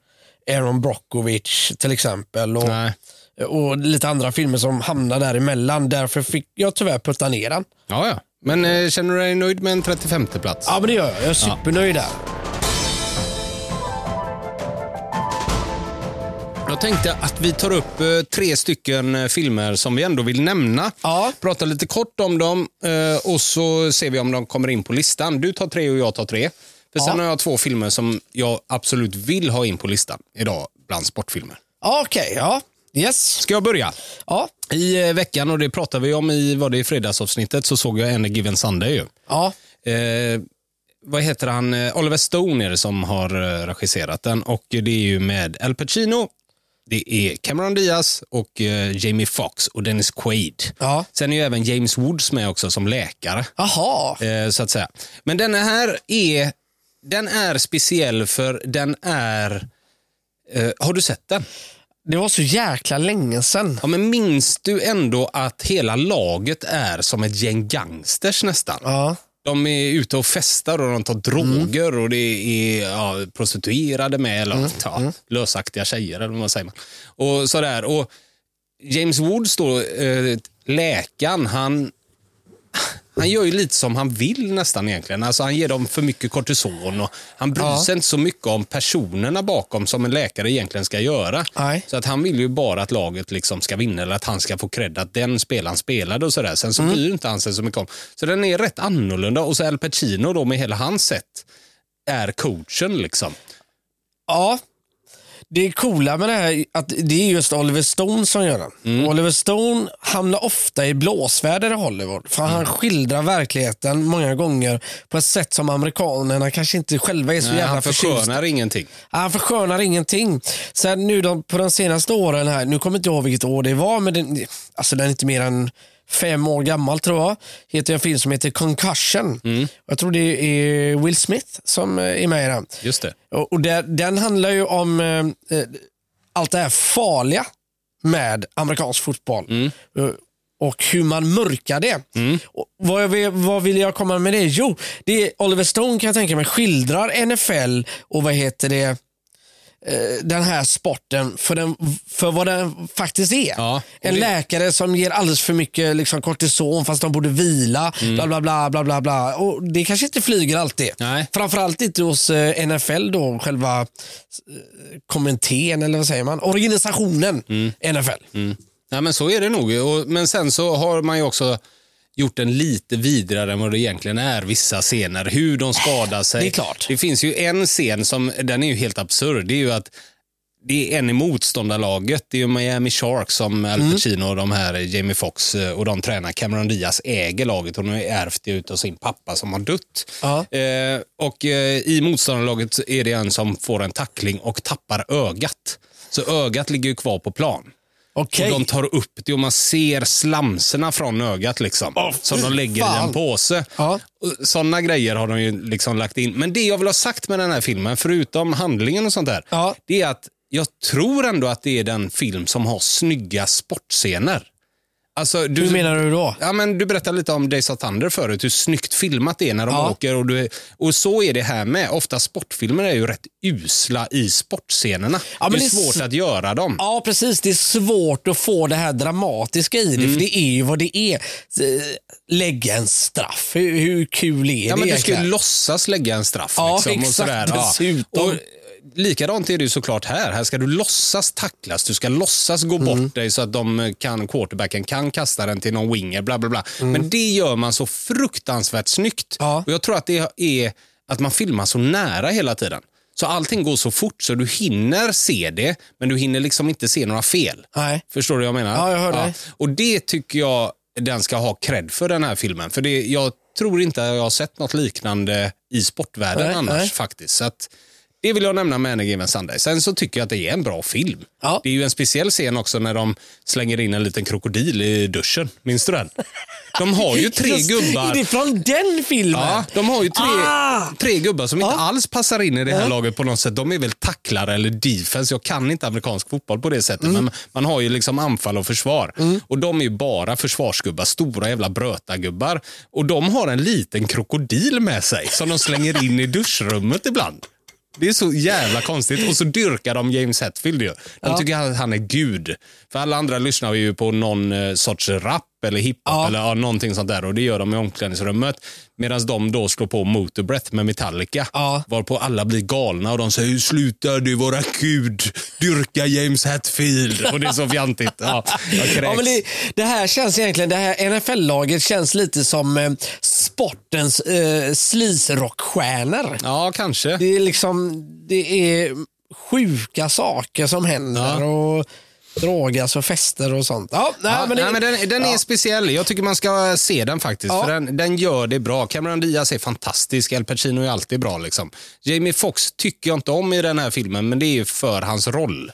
Speaker 2: Aaron Brockovich till exempel. Och,
Speaker 1: Nej.
Speaker 2: och lite andra filmer som hamnar däremellan. Därför fick jag tyvärr putta ner den.
Speaker 1: Ja, ja. Men eh, känner du dig nöjd med en 35 plats?
Speaker 2: Ja, men det gör jag. Jag är supernöjd där.
Speaker 1: Jag tänkte att vi tar upp eh, tre stycken eh, filmer som vi ändå vill nämna.
Speaker 2: Ja.
Speaker 1: Prata lite kort om dem eh, och så ser vi om de kommer in på listan. Du tar tre och jag tar tre. För Sen
Speaker 2: Ja.
Speaker 1: har jag två filmer som jag absolut vill ha in på listan idag bland sportfilmer.
Speaker 2: Ja, Okej, ja. Yes.
Speaker 1: Ska jag börja?
Speaker 2: Ja.
Speaker 1: I eh, veckan, och det pratade vi om i, var det i fredagsavsnittet, så såg jag en Given Sunday. Ju.
Speaker 2: Ja.
Speaker 1: Eh, vad heter han? Eh, Oliver Stone är det som har eh, regisserat den och det är ju med Al Pacino, det är Cameron Diaz och eh, Jamie Foxx och Dennis Quaid.
Speaker 2: Ja.
Speaker 1: Sen är ju även James Woods med också som läkare.
Speaker 2: Jaha.
Speaker 1: Eh, så att säga. Men den här är, den är speciell för den är... Eh, har du sett den?
Speaker 2: Det var så jäkla länge sedan.
Speaker 1: Ja, men minns du ändå att hela laget är som ett gäng gangsters nästan?
Speaker 2: Ja.
Speaker 1: De är ute och festar och de tar droger och det är ja, prostituerade med eller ja, lösaktiga tjejer eller vad säger man. Och sådär. Och James Woods då, eh, läkaren, han, han gör ju lite som han vill nästan egentligen. Alltså han ger dem för mycket kortison och han bryr sig inte så mycket om personerna bakom som en läkare egentligen ska göra.
Speaker 2: Nej.
Speaker 1: Så att han vill ju bara att laget liksom ska vinna eller att han ska få cred att den spelaren spelade och sådär. Sen så bryr inte han sig så mycket om. Så den är rätt annorlunda och så Al Pacino då med hela hans sätt är coachen liksom.
Speaker 2: Ja. Det coola med det här är att det är just Oliver Stone som gör den. Oliver Stone hamnar ofta i blåsväder i Hollywood. För han skildrar verkligheten många gånger på ett sätt som amerikanerna kanske inte själva är så
Speaker 1: Nej,
Speaker 2: jävla
Speaker 1: han
Speaker 2: förtjusta
Speaker 1: förskönar ingenting.
Speaker 2: han förskönar ingenting. Sen nu de, på de senaste åren här, nu kommer inte jag ihåg vilket år det var, men den, alltså den är inte mer än fem år gammal tror jag. Heter en film som heter Concussion. Jag tror det är Will Smith som eh, är med i den.
Speaker 1: Just det.
Speaker 2: Och, och där, den handlar ju om eh, eh, allt det här farliga med amerikansk fotboll. Eh, och hur man mörkar det. Och vad, jag vill, vad vill jag komma med det? Jo, det är Oliver Stone kan jag tänka mig skildrar NFL och vad heter det, eh, den här sporten för, den, för vad den faktiskt är.
Speaker 1: Ja, och
Speaker 2: en
Speaker 1: det-
Speaker 2: läkare som ger alldeles för mycket liksom, kortison fast de borde vila.
Speaker 1: Mm.
Speaker 2: Bla, bla, bla, bla, bla, bla. Och det kanske inte flyger alltid.
Speaker 1: Nej.
Speaker 2: Framförallt inte hos eh, NFL då, själva eh, kommittén eller vad säger man? Organisationen
Speaker 1: Mm.
Speaker 2: NFL.
Speaker 1: Nej, men så är det nog. Och, men sen så har man ju också gjort den lite vidare än vad det egentligen är, vissa scener. Hur de skadar sig.
Speaker 2: Det är klart.
Speaker 1: Det finns ju en scen som, den är ju helt absurd. Det är ju att det är en i motståndarlaget. Det är ju Miami Sharks som
Speaker 2: Mm.
Speaker 1: Al Pacino och de här Jamie Foxx eh, och de tränar. Cameron Diaz äger laget. Hon har ju ärvt det utav sin pappa som har dött.
Speaker 2: Ja.
Speaker 1: Eh, och eh, i motståndarlaget så är det en som får en tackling och tappar ögat. Så ögat ligger ju kvar på plan.
Speaker 2: Okej.
Speaker 1: Och de tar upp det och man ser slamserna från ögat liksom. som de lägger i
Speaker 2: fan.
Speaker 1: en påse.
Speaker 2: Ja.
Speaker 1: Sådana grejer har de ju liksom lagt in. Men det jag vill ha sagt med den här filmen, förutom handlingen och sånt där,
Speaker 2: Ja.
Speaker 1: det är att jag tror ändå att det är den film som har snygga sportscener. Alltså, du,
Speaker 2: Hur menar du då?
Speaker 1: Ja, men du berättade lite om Days of Thunder förut, hur snyggt filmat det är när de
Speaker 2: Ja.
Speaker 1: åker. Och, du är, och så är det här med. Ofta sportfilmer är ju rätt usla i sportscenerna.
Speaker 2: Ja, men
Speaker 1: det är
Speaker 2: det är
Speaker 1: svårt
Speaker 2: s-
Speaker 1: att göra dem.
Speaker 2: Ja, precis. Det är svårt att få det här dramatiska i det,
Speaker 1: Mm.
Speaker 2: för det är ju vad det är. Eh, Lägg en straff. Hur, hur kul är
Speaker 1: Ja,
Speaker 2: det
Speaker 1: men du ska ju
Speaker 2: egentligen?
Speaker 1: låtsas lägga en straff.
Speaker 2: Ja,
Speaker 1: liksom, och
Speaker 2: exakt,
Speaker 1: sådär.
Speaker 2: dessutom.
Speaker 1: Och, eh, likadant är det ju såklart här. Här ska du låtsas tacklas, du ska låtsas gå
Speaker 2: Mm.
Speaker 1: bort dig så att de eh, kan, quarterbacken kan kasta den till någon winger. Bla, bla, bla. Men det gör man så fruktansvärt snyggt.
Speaker 2: Mm. Ja.
Speaker 1: Och jag tror att det är att man filmar så nära hela tiden. Så allting går så fort så du hinner se det, men du hinner liksom inte se några fel.
Speaker 2: Nej.
Speaker 1: Förstår du vad jag menar?
Speaker 2: Ja, jag hör dig.
Speaker 1: Och det tycker jag den ska ha cred för den här filmen. För det, jag tror inte jag har sett något liknande i sportvärlden
Speaker 2: Nej,
Speaker 1: annars
Speaker 2: nej.
Speaker 1: faktiskt. Så att, det vill jag nämna med Any Given Sunday. Sen så tycker jag att det är en bra film.
Speaker 2: Ja.
Speaker 1: Det är ju en speciell scen också när de slänger in en liten krokodil i duschen. Minns du den? De har ju tre
Speaker 2: Just-
Speaker 1: gubbar.
Speaker 2: Är det från den filmen?
Speaker 1: Ja, de har ju tre,
Speaker 2: Ah!
Speaker 1: tre gubbar som inte
Speaker 2: Ja.
Speaker 1: alls passar in i det här laget på något sätt. De är väl tacklare eller defense. Jag kan inte amerikansk fotboll på det sättet,
Speaker 2: Mm.
Speaker 1: men man har ju liksom anfall och försvar. Och de är ju bara försvarsgubbar, stora jävla brötagubbar. Och de har en liten krokodil med sig som de slänger in i duschrummet ibland. Det är så jävla konstigt. Och så dyrkar de James Hetfield ju. De tycker att han är gud. För alla andra lyssnar ju på någon eh, sorts rap eller hiphop eller ja, någonting sånt där. Och det gör de i omklädningsrummet. Medan de då slår på Motor Breath med Metallica.
Speaker 2: Ja.
Speaker 1: Varpå alla blir galna och de säger sluta du vara gud, dyrka James Hetfield. Och det är så fjantigt. Ja, jag
Speaker 2: Ja,
Speaker 1: kräks.
Speaker 2: men det, det här känns egentligen, det här NFL-laget känns lite som eh, sportens eh, sleaze-rockstjärnor.
Speaker 1: ja kanske.
Speaker 2: Det är liksom, det är sjuka saker som händer och drogas och fester och sånt. Ja, nej,
Speaker 1: Ja,
Speaker 2: men det,
Speaker 1: nej, men den den är speciell. Jag tycker man ska eh, se den faktiskt.
Speaker 2: Ja.
Speaker 1: För den, den gör det bra. Cameron Diaz är fantastisk. Al Pacino är alltid bra. Liksom. Jamie Foxx tycker jag inte om i den här filmen, men det är ju för hans roll.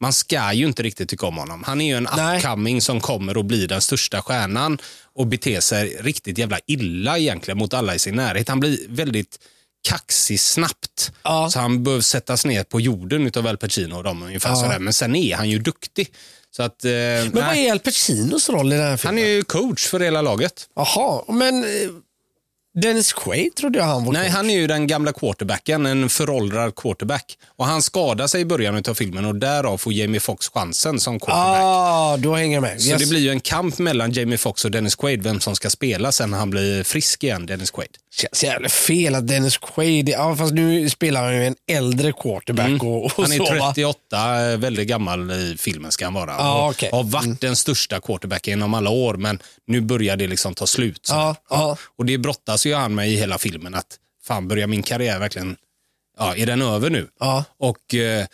Speaker 1: Man ska ju inte riktigt tycka om honom. Han är ju en
Speaker 2: Nej.
Speaker 1: upcoming som kommer att bli den största stjärnan och bete sig riktigt jävla illa egentligen mot alla i sin närhet. Han blir väldigt kaxig snabbt.
Speaker 2: Ja.
Speaker 1: Så han behöver sättas ner på jorden utav Al Pacino och dem ungefär sådär. Men sen är han ju duktig. Så att, eh,
Speaker 2: men
Speaker 1: nej.
Speaker 2: vad är Al Pacinos roll i den här filmen?
Speaker 1: Han är ju coach för hela laget.
Speaker 2: Jaha, men eh, Dennis Quaid trodde jag han var
Speaker 1: Nej, han är ju den gamla quarterbacken, en föråldrad quarterback. Och han skadar sig i början av filmen och därav får Jamie Foxx chansen som quarterback.
Speaker 2: Ah, då hänger jag med.
Speaker 1: Så
Speaker 2: Yes.
Speaker 1: det blir ju en kamp mellan Jamie Foxx och Dennis Quaid, vem som ska spela sen när han blir frisk igen, Dennis Quaid.
Speaker 2: känns jävligt fel att Dennis Quaid, ja fast nu spelar han ju en äldre quarterback och, och
Speaker 1: Mm. Han
Speaker 2: så
Speaker 1: är
Speaker 2: va?
Speaker 1: 38, eh, väldigt gammal i filmen ska han vara.
Speaker 2: Ja,
Speaker 1: Och
Speaker 2: okej.
Speaker 1: Har varit den största quarterbacken genom alla år, men nu börjar det liksom ta slut. Så.
Speaker 2: Ja, ja.
Speaker 1: Och det brottas ju han med i hela filmen att fan börjar min karriär verkligen, ja är den över nu?
Speaker 2: Ja.
Speaker 1: Och eh,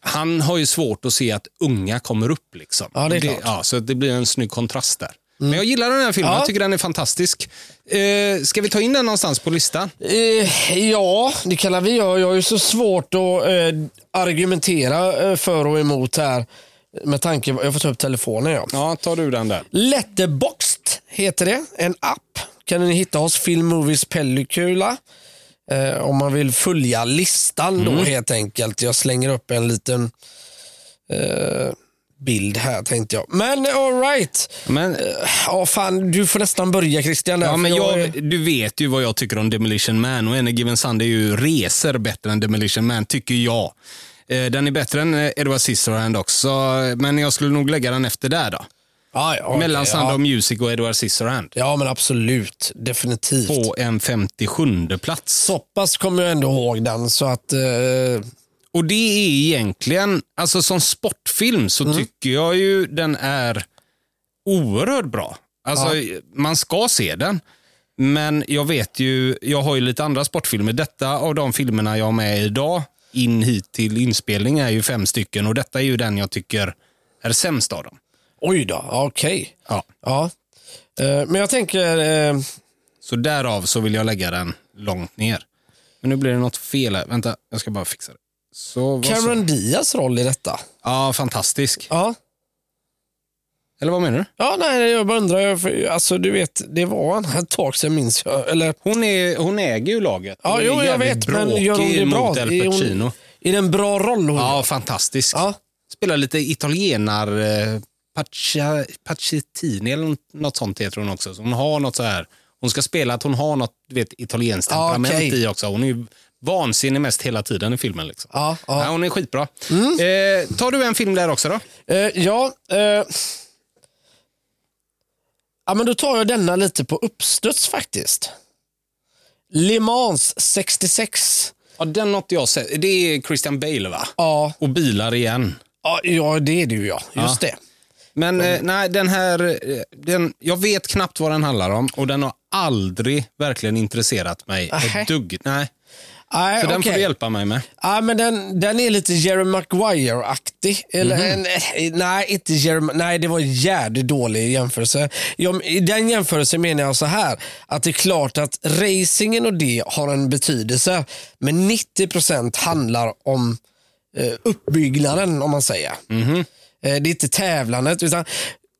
Speaker 1: han har ju svårt att se att unga kommer upp. Liksom.
Speaker 2: Ja, det är klart. Mm.
Speaker 1: ja, så det blir en snygg kontrast där. Men jag gillar den här filmen,
Speaker 2: Ja.
Speaker 1: jag tycker den är fantastisk. Eh, ska vi ta in den någonstans på listan?
Speaker 2: Eh, ja, det kallar vi göra. Jag har ju så svårt att eh, argumentera eh, för och emot här. Med tanke jag får ta upp telefonen. Ja.
Speaker 1: Ja, tar du den där.
Speaker 2: Letterboxd heter det, en app. Kan ni hitta oss, Film Movies Pellicula. Eh, om man vill följa listan då helt enkelt. Jag slänger upp en liten eh, bild här tänkte jag. Men alright.
Speaker 1: Men,
Speaker 2: Ja fan, du får nästan börja Christian. Där,
Speaker 1: ja,
Speaker 2: för
Speaker 1: men
Speaker 2: Alltså, jag är-
Speaker 1: jag, du vet ju vad jag tycker om Demolition Man och Any Given Sunday är ju reser bättre än Demolition Man, tycker jag. Eh, den är bättre än eh, Edward Scissorhand också, men jag skulle nog lägga den efter där då.
Speaker 2: Ja, ja, okej,
Speaker 1: Mellan Sound
Speaker 2: ja.
Speaker 1: of Music och Edward Scissorhand.
Speaker 2: ja men absolut, definitivt.
Speaker 1: På en 57 plats.
Speaker 2: Så pass kommer jag ändå ihåg den så att eh,
Speaker 1: Och det är egentligen, alltså som sportfilm så tycker jag ju den är oerhört bra. Alltså man ska se den. Men jag vet ju, jag har ju lite andra sportfilmer. Detta av de filmerna jag har med idag in hit till inspelning är ju fem stycken och detta är ju den jag tycker är sämst av dem.
Speaker 2: oj då, ja, okej.
Speaker 1: Ja.
Speaker 2: Ja. Eh, men jag tänker eh,
Speaker 1: Så därav så vill jag lägga den långt ner. Men nu blir det något fel här. Vänta, jag ska bara fixa det. Så, vad så.
Speaker 2: Cameron Diaz roll i detta.
Speaker 1: Ja, fantastisk.
Speaker 2: Ja.
Speaker 1: Eller vad menar du?
Speaker 2: Ja, nej, jag bara undrar. jag- för, Alltså, du vet, det var en ett tag sedan minns jag. Eller,
Speaker 1: Hon, är, hon äger ju laget.
Speaker 2: ja,
Speaker 1: Hon är
Speaker 2: jo, jag
Speaker 1: jävligt
Speaker 2: vet, men gör hon
Speaker 1: bråkig
Speaker 2: det bra?
Speaker 1: mot Al
Speaker 2: Är
Speaker 1: Pacino.
Speaker 2: hon, är det en bra roll hon
Speaker 1: Ja,
Speaker 2: gör?
Speaker 1: fantastisk.
Speaker 2: ja.
Speaker 1: Spelar lite italienar... eh, Paccia, Pacchettini eller något sånt heter hon också. Så hon har något så här... Hon ska spela att hon har något du vet, italienskt
Speaker 2: Ja,
Speaker 1: temperament
Speaker 2: Ah, okej.
Speaker 1: i också. Hon är ju vansinnig mest hela tiden i filmen. Liksom.
Speaker 2: Ja, ja.
Speaker 1: Nej, hon är skitbra.
Speaker 2: Mm.
Speaker 1: Eh, tar du en film där också då?
Speaker 2: Eh, ja, eh, ja, men då tar jag denna lite på uppstuds faktiskt. Le Mans 66.
Speaker 1: Ja, den har inte jag sett. Det är Christian Bale va?
Speaker 2: Ja,
Speaker 1: Och bilar igen.
Speaker 2: ja, ja det är du ja. Just det.
Speaker 1: Men eh, nej, den här, eh, den, jag vet knappt vad den handlar om och den har aldrig verkligen intresserat mig
Speaker 2: Nähä.
Speaker 1: ett dugg. Nej,
Speaker 2: Nej,
Speaker 1: så den får
Speaker 2: okej.
Speaker 1: du hjälpa mig med.
Speaker 2: Ja, men den, den är lite Jerry Maguire-aktig. Eller, en- eh, nej, inte Jerry, Ma- nej, det var en jävligt dålig jämförelse. Jag, I den jämförelsen menar jag så här, att det är klart att racingen och det har en betydelse, men 90 handlar om eh, uppbyggnaden, om man säger. Eh, Det är inte tävlandet, utan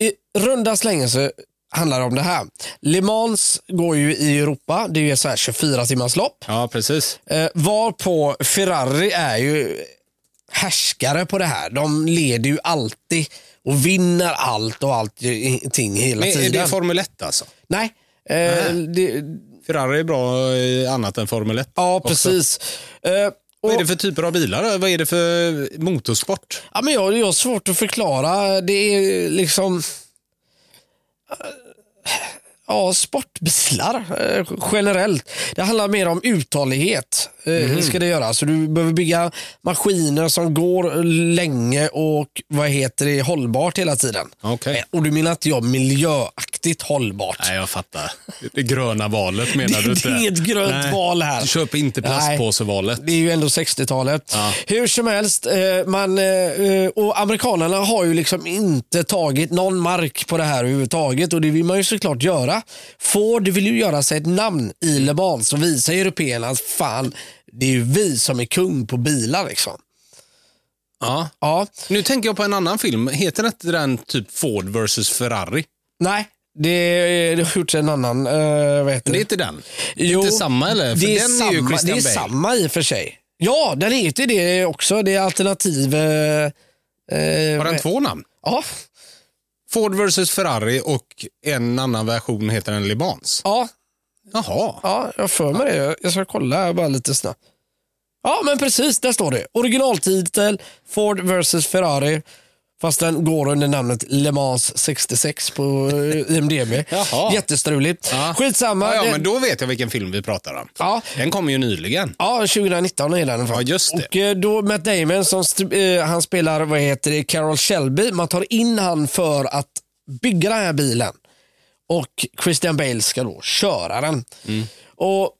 Speaker 2: i runda slängen så handlar det om det här. Le Mans går ju i Europa, det är ju så här 24 timmars lopp.
Speaker 1: Ja, precis.
Speaker 2: Eh, varpå Ferrari är ju härskare på det här. De leder ju alltid och vinner allt och allting hela
Speaker 1: Men är
Speaker 2: tiden.
Speaker 1: det Formel 1 alltså?
Speaker 2: Nej. Eh, det,
Speaker 1: Ferrari är bra i annat än Formel 1.
Speaker 2: ja,
Speaker 1: också.
Speaker 2: precis. Eh,
Speaker 1: Vad är
Speaker 2: och,
Speaker 1: det för typer av bilar? då? Vad är det för motorsport?
Speaker 2: ja, men jag, jag har svårt att förklara. Det är liksom... eh, Ja, sportbilar eh, generellt. Det handlar mer om uthållighet. eh,
Speaker 1: Mhm.
Speaker 2: Ska det göra. Så du behöver bygga maskiner som går länge och vad heter det, hållbart hela tiden.
Speaker 1: Okej.
Speaker 2: Eh, Och du menar inte jag miljöaktigt hållbart?
Speaker 1: Nej, jag fattar. Det gröna valet menar
Speaker 2: Det-
Speaker 1: du inte?
Speaker 2: det är ett grönt val här.
Speaker 1: Köp inte plastpåsevalet.
Speaker 2: Det är ju ändå 60-talet.
Speaker 1: Ja.
Speaker 2: Hur som helst, eh, man, eh, eh, och amerikanerna har ju liksom inte tagit någon mark på det här överhuvudtaget och det vill man ju såklart göra. Ford vill ju göra sig ett namn i Le Mans och visa européerna att fan, det är ju vi som är kung på bilar liksom.
Speaker 1: Ja.
Speaker 2: Ja,
Speaker 1: Nu tänker jag på en annan film. Heter inte den typ Ford vs Ferrari?
Speaker 2: nej. Det, det har gjorts en annan, eh, vad
Speaker 1: Det
Speaker 2: heter
Speaker 1: är
Speaker 2: det?
Speaker 1: inte den?
Speaker 2: Jo,
Speaker 1: inte samma eller? För
Speaker 2: det är,
Speaker 1: den
Speaker 2: samma,
Speaker 1: är ju Christian
Speaker 2: det är
Speaker 1: Bale.
Speaker 2: samma i och för sig. Ja, den heter det också. Det är alternativ... Eh, eh,
Speaker 1: Har den
Speaker 2: vad-
Speaker 1: två namn?
Speaker 2: Ja,
Speaker 1: Ford vs Ferrari och en annan version heter den Le Mans.
Speaker 2: ja,
Speaker 1: Jaha.
Speaker 2: ja, jag har för mig det. Jag ska kolla här bara lite snabbt. Ja, men precis. Där står det. Originaltitel Ford vs Ferrari. Fast den går under namnet Le Mans 66 på eh, IMDB.
Speaker 1: *laughs* Jaha.
Speaker 2: Jättestruligt.
Speaker 1: Ja.
Speaker 2: Skitsamma.
Speaker 1: Ja, ja,
Speaker 2: Den-
Speaker 1: men då vet jag vilken film vi pratar om.
Speaker 2: ja.
Speaker 1: Den kom ju nyligen.
Speaker 2: Ja, 2019 är den.
Speaker 1: Ja, just det.
Speaker 2: Och eh, då Matt Damon, som st- eh, han spelar, vad heter det, Carol Shelby. Man tar in han för att bygga den här bilen. Och Christian Bale ska då
Speaker 1: Mm.
Speaker 2: köra den. Och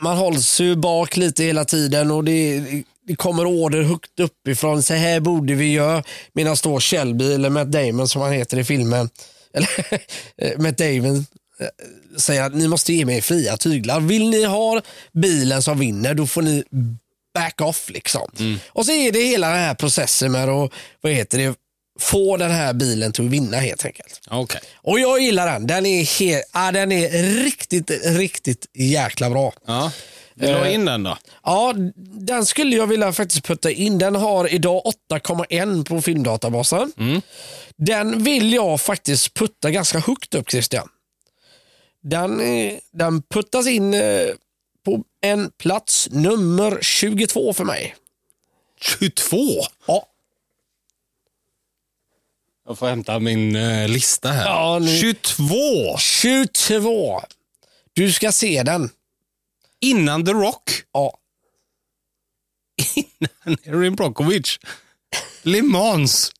Speaker 2: man hålls ju bak lite hela tiden och det är, det det kommer order högt uppifrån. Så här borde vi göra. Medan då Shelby, eller Matt Damon som han heter i filmen, eller *laughs* eh, Matt Damon eh, säger att ni måste ge mig fria tyglar. Vill ni ha bilen som vinner, då får ni back off liksom. Och så är det hela den här processen med att, vad heter det, få den här bilen till att vinna helt enkelt.
Speaker 1: Okej.
Speaker 2: Och jag gillar den. Den är, he- ah, den är riktigt, riktigt jäkla bra.
Speaker 1: Ja.
Speaker 2: Eh.
Speaker 1: Vill du ha in den då?
Speaker 2: Ja, den skulle jag vilja faktiskt putta in. Den har idag 8,1 på filmdatabasen. Den vill jag faktiskt putta ganska högt upp Christian. Den, eh, den puttas in eh, på en plats nummer 22 för mig.
Speaker 1: 22?
Speaker 2: Ja,
Speaker 1: Jag får hämta min eh, lista här.
Speaker 2: Ja, nu-
Speaker 1: 22!
Speaker 2: 22. Du ska se den.
Speaker 1: Innan The Rock. *laughs*
Speaker 2: Ja,
Speaker 1: Innan Erin Brockovich. Le Mans.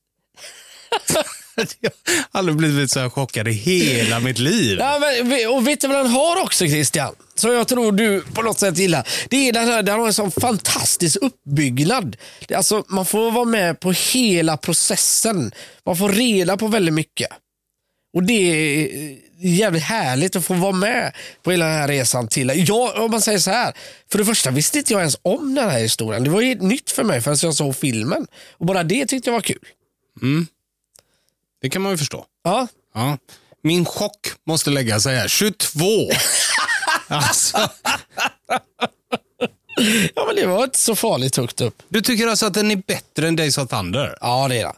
Speaker 1: *laughs* jag har aldrig blivit så här chockad i hela mitt liv.
Speaker 2: Ja, men, vi- och vet du vad den har också Christian? Som jag tror du på något sätt gillar. Det är den här, den har en sån fantastisk uppbyggnad. Det- Alltså, man får vara med på hela processen. Man får reda på väldigt mycket. Och det är eh, jävligt härligt att få vara med på hela den här resan till. Jag, om man säger så här, för det första visste inte jag ens om den här historien. Det var ju helt nytt för mig förrän jag såg filmen. Och bara det tyckte jag var kul.
Speaker 1: Det kan man ju förstå.
Speaker 2: Ja,
Speaker 1: Ja. Min chock måste lägga sig här.
Speaker 2: *laughs*
Speaker 1: 22! alltså,
Speaker 2: ja men det var inte så farligt högt upp.
Speaker 1: du tycker alltså att den är bättre än Days of Thunder?
Speaker 2: Ja, det är den.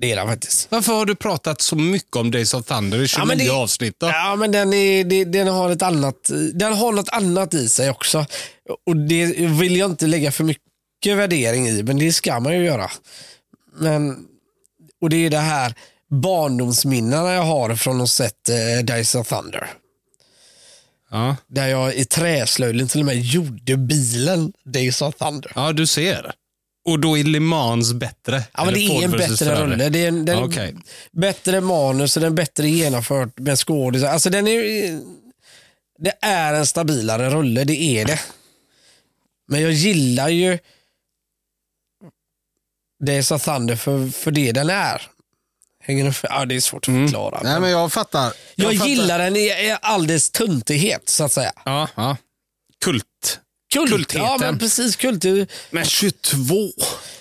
Speaker 2: Det är den faktiskt.
Speaker 1: Varför har du pratat så mycket om Days of Thunder i 29
Speaker 2: men det-
Speaker 1: avsnitt? Då?
Speaker 2: Ja, men den, är, det- den, har ett annat, den har något annat i sig också. Och Det vill jag inte lägga för mycket värdering i, men det ska man ju göra. Men, och Det är det här barndomsminnena jag har från att sett eh, Days of Thunder.
Speaker 1: Ja.
Speaker 2: Där jag i träslöjden till och med gjorde bilen Days of Thunder.
Speaker 1: ja, du ser. Och då är Le Mans bättre?
Speaker 2: Ja, men det
Speaker 1: Eller Ford
Speaker 2: är en
Speaker 1: versus
Speaker 2: bättre
Speaker 1: Ferrari.
Speaker 2: rulle. Det är en, den är
Speaker 1: Okej.
Speaker 2: bättre manus och den är bättre genomfört med skådisar. Alltså den är Det är en stabilare rulle, det är det. Men jag gillar ju det som Thunder för, för det den är. Hänger du med? Ja, det är svårt att förklara.
Speaker 1: Mm. Nej, men jag fattar.
Speaker 2: jag
Speaker 1: fattar.
Speaker 2: gillar den i, i all dess tuntighet, så att säga.
Speaker 1: Ja, ja. Kult.
Speaker 2: Kult,
Speaker 1: Kultheten.
Speaker 2: Ja, men precis. Kult. är-
Speaker 1: Men 22!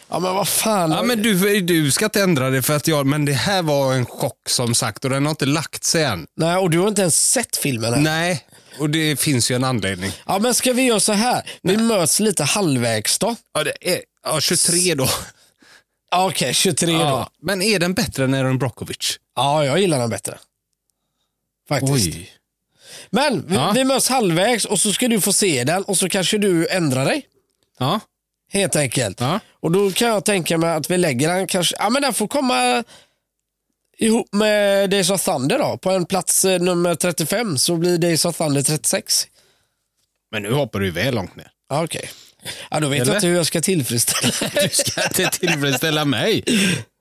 Speaker 2: Ja, men vad fan.
Speaker 1: Ja, men du, du ska inte ändra det, för att jag, men det här var en chock som sagt och den har inte lagt sig än.
Speaker 2: Nej, och du har inte ens sett filmen än.
Speaker 1: Nej, och det finns ju en anledning.
Speaker 2: Ja, men ska vi göra så här? Vi möts lite halvvägs då.
Speaker 1: Ja, det är, ja 23 då.
Speaker 2: Ja, Okej, 23
Speaker 1: *laughs*
Speaker 2: då.
Speaker 1: Ja. Men är den bättre än Aaron Brockovich?
Speaker 2: Ja, jag gillar den bättre. Faktiskt. Men vi,
Speaker 1: Ja.
Speaker 2: vi möts halvvägs och så ska du få se den och så kanske du ändrar dig.
Speaker 1: Ja.
Speaker 2: Helt enkelt.
Speaker 1: Ja.
Speaker 2: Och då kan jag tänka mig att vi lägger den kanske, ja men den får komma ihop med Days of Thunder då. På en plats eh, nummer 35 så blir Days of Thunder 36.
Speaker 1: Men nu hoppar du väl långt *laughs* ner.
Speaker 2: Ja, Okej. Ja, då vet
Speaker 1: Eller?
Speaker 2: jag inte hur jag ska tillfredsställa
Speaker 1: *laughs* Du ska inte tillfredsställa *laughs* mig.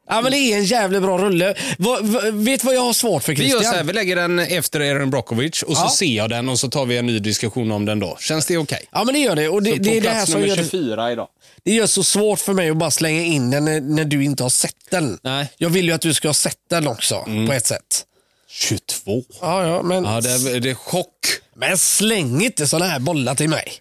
Speaker 2: Ja men det är en jävligt bra rulle. Vad- vad- vet du vad jag har svårt för
Speaker 1: Vi gör
Speaker 2: Christian?
Speaker 1: så här, vi lägger den efter Aaron Brockovich och så ser jag den och så tar vi en ny diskussion om den då. Känns det okej?
Speaker 2: Ja men det gör det. Och det,
Speaker 1: På
Speaker 2: det är det här
Speaker 1: plats
Speaker 2: som gör,
Speaker 1: 24 idag.
Speaker 2: det gör så svårt för mig att bara slänga in den när, när du inte har sett den.
Speaker 1: Nej.
Speaker 2: Jag vill ju att du ska ha sett den också på ett sätt.
Speaker 1: 22.
Speaker 2: Ja, ja, men,
Speaker 1: Ja, det är, det är chock.
Speaker 2: men släng inte sådana här bollar
Speaker 1: *laughs*
Speaker 2: till mig.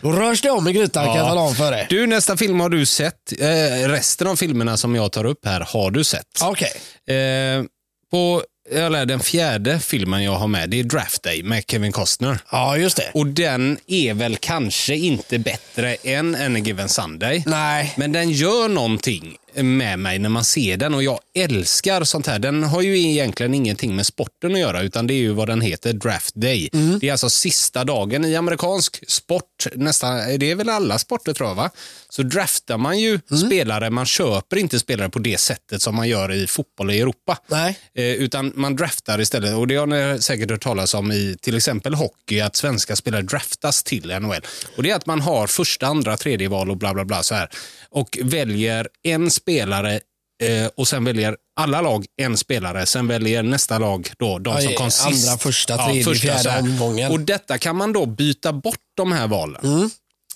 Speaker 2: Då rörs det om i grytan kan jag tala om för dig.
Speaker 1: Du, nästa film har du sett. Eh, resten av filmerna som jag tar upp här har du sett.
Speaker 2: Okej.
Speaker 1: Eh, på, eller den fjärde filmen jag har med, det är Draft Day med Kevin Costner.
Speaker 2: Ja just det.
Speaker 1: Och den är väl kanske inte bättre än Any Given Sunday.
Speaker 2: Nej.
Speaker 1: Men den gör någonting med mig när man ser den och jag älskar sånt här. Den har ju egentligen ingenting med sporten att göra utan det är ju vad den heter, draft day. Det är alltså sista dagen i amerikansk sport, nästan, det är väl alla sporter tror jag va? Så draftar man ju spelare, man köper inte spelare på det sättet som man gör i fotboll i Europa.
Speaker 2: Nej.
Speaker 1: Eh, utan man draftar istället, och det har ni säkert hört talas om i till exempel hockey, att svenska spelare draftas till NHL. Och det är att man har första, andra, tredje val och bla bla bla så här. Och väljer en spelare eh, och sen väljer alla lag en spelare, sen väljer nästa lag då de
Speaker 2: Ja,
Speaker 1: som
Speaker 2: ja,
Speaker 1: kom sist.
Speaker 2: andra, första, tredje, fjärde
Speaker 1: så här.
Speaker 2: omgången. Mm.
Speaker 1: Och detta kan man då byta bort de här valen.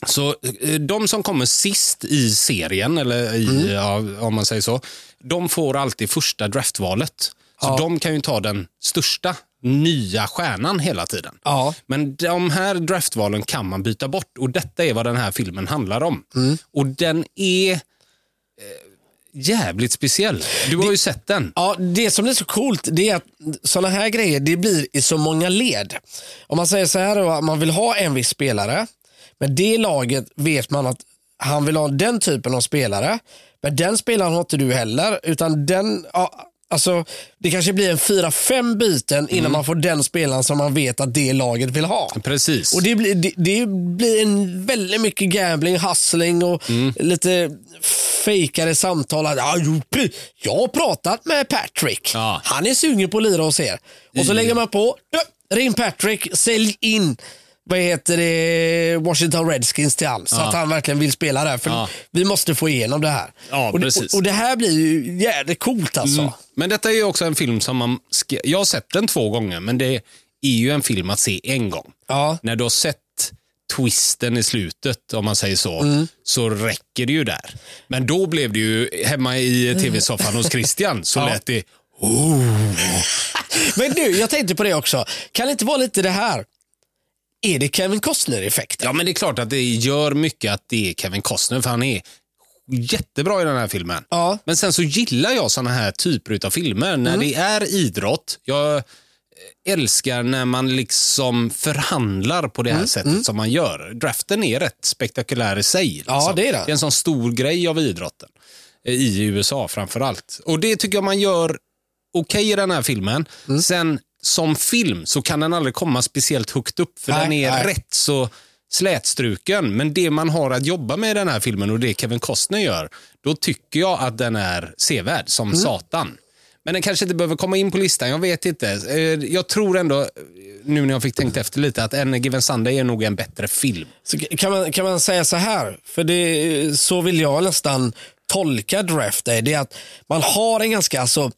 Speaker 1: Så eh, de som kommer sist i serien, eller i,
Speaker 2: Mm.
Speaker 1: ja, om man säger så, de får alltid första draftvalet. Så de kan ju ta den största nya stjärnan hela tiden.
Speaker 2: Ja.
Speaker 1: Men de här draftvalen kan man byta bort och detta är vad den här filmen handlar om.
Speaker 2: Mm.
Speaker 1: Och den är eh, jävligt speciell. Du har ju sett den.
Speaker 2: Ja, det som är så coolt det är att sådana här grejer det blir i så många led. Om man säger så här då, att man vill ha en viss spelare, men det laget vet man att han vill ha den typen av spelare, men den spelaren har inte du heller, utan den, ja, alltså det kanske blir en fyra, fem byten innan man får den spelaren som man vet att det laget vill ha.
Speaker 1: Precis.
Speaker 2: Och det blir, det, det blir en väldigt mycket gambling, hustling och
Speaker 1: Mm.
Speaker 2: lite fejkade samtal. Att, "Ja, jo, p- Jag har pratat med Patrick.
Speaker 1: Ja.
Speaker 2: Han är sugen på att lira hos er. Och så lägger man på. "Ja, Ring Patrick, sälj in vad heter det, Washington Redskins till han. Så att han verkligen vill spela där. För
Speaker 1: Ja.
Speaker 2: vi måste få igenom det här.
Speaker 1: Ja,
Speaker 2: och, det,
Speaker 1: precis. Mm.
Speaker 2: och det här blir ju jävligt coolt alltså.
Speaker 1: Men detta är ju också en film som man... Ska, jag har sett den två gånger, men det är ju en film att se en gång.
Speaker 2: Ja.
Speaker 1: När du har sett twisten i slutet, om man säger så, så räcker det ju där. Men då blev det ju hemma i tv-soffan hos Christian, så lät det...
Speaker 2: Men du, jag tänkte på det också. Kan det inte vara lite det här? Är det Kevin Costner-effekten?
Speaker 1: Ja, men det är klart att det gör mycket att det är Kevin Costner, för han är jättebra i den här filmen.
Speaker 2: Ja. Mm.
Speaker 1: Men sen så gillar jag såna här typer av filmer när det är idrott. Jag älskar när man liksom förhandlar på det
Speaker 2: Mm,
Speaker 1: här sättet som man gör. Draften är rätt spektakulär i sig. Liksom.
Speaker 2: Ja, det är det.
Speaker 1: Det är en sån stor grej av idrotten. eh, I USA framför allt. Och det tycker jag man gör okej i den här filmen.
Speaker 2: Mm.
Speaker 1: Sen som film så kan den aldrig komma speciellt högt upp för
Speaker 2: Nej,
Speaker 1: den är
Speaker 2: nej.
Speaker 1: rätt så slätstruken. Men det man har att jobba med i den här filmen och det Kevin Costner gör, då tycker jag att den är sevärd som
Speaker 2: Mm.
Speaker 1: satan. Men den kanske inte behöver komma in på listan, jag vet inte. Eh, Jag tror ändå, eh, nu när jag fick tänkt efter lite, att En Given Sunday är nog en bättre film.
Speaker 2: Så kan, man, kan man säga så här, för det, så vill jag nästan tolka draft Day, det är att man har en ganska, alltså,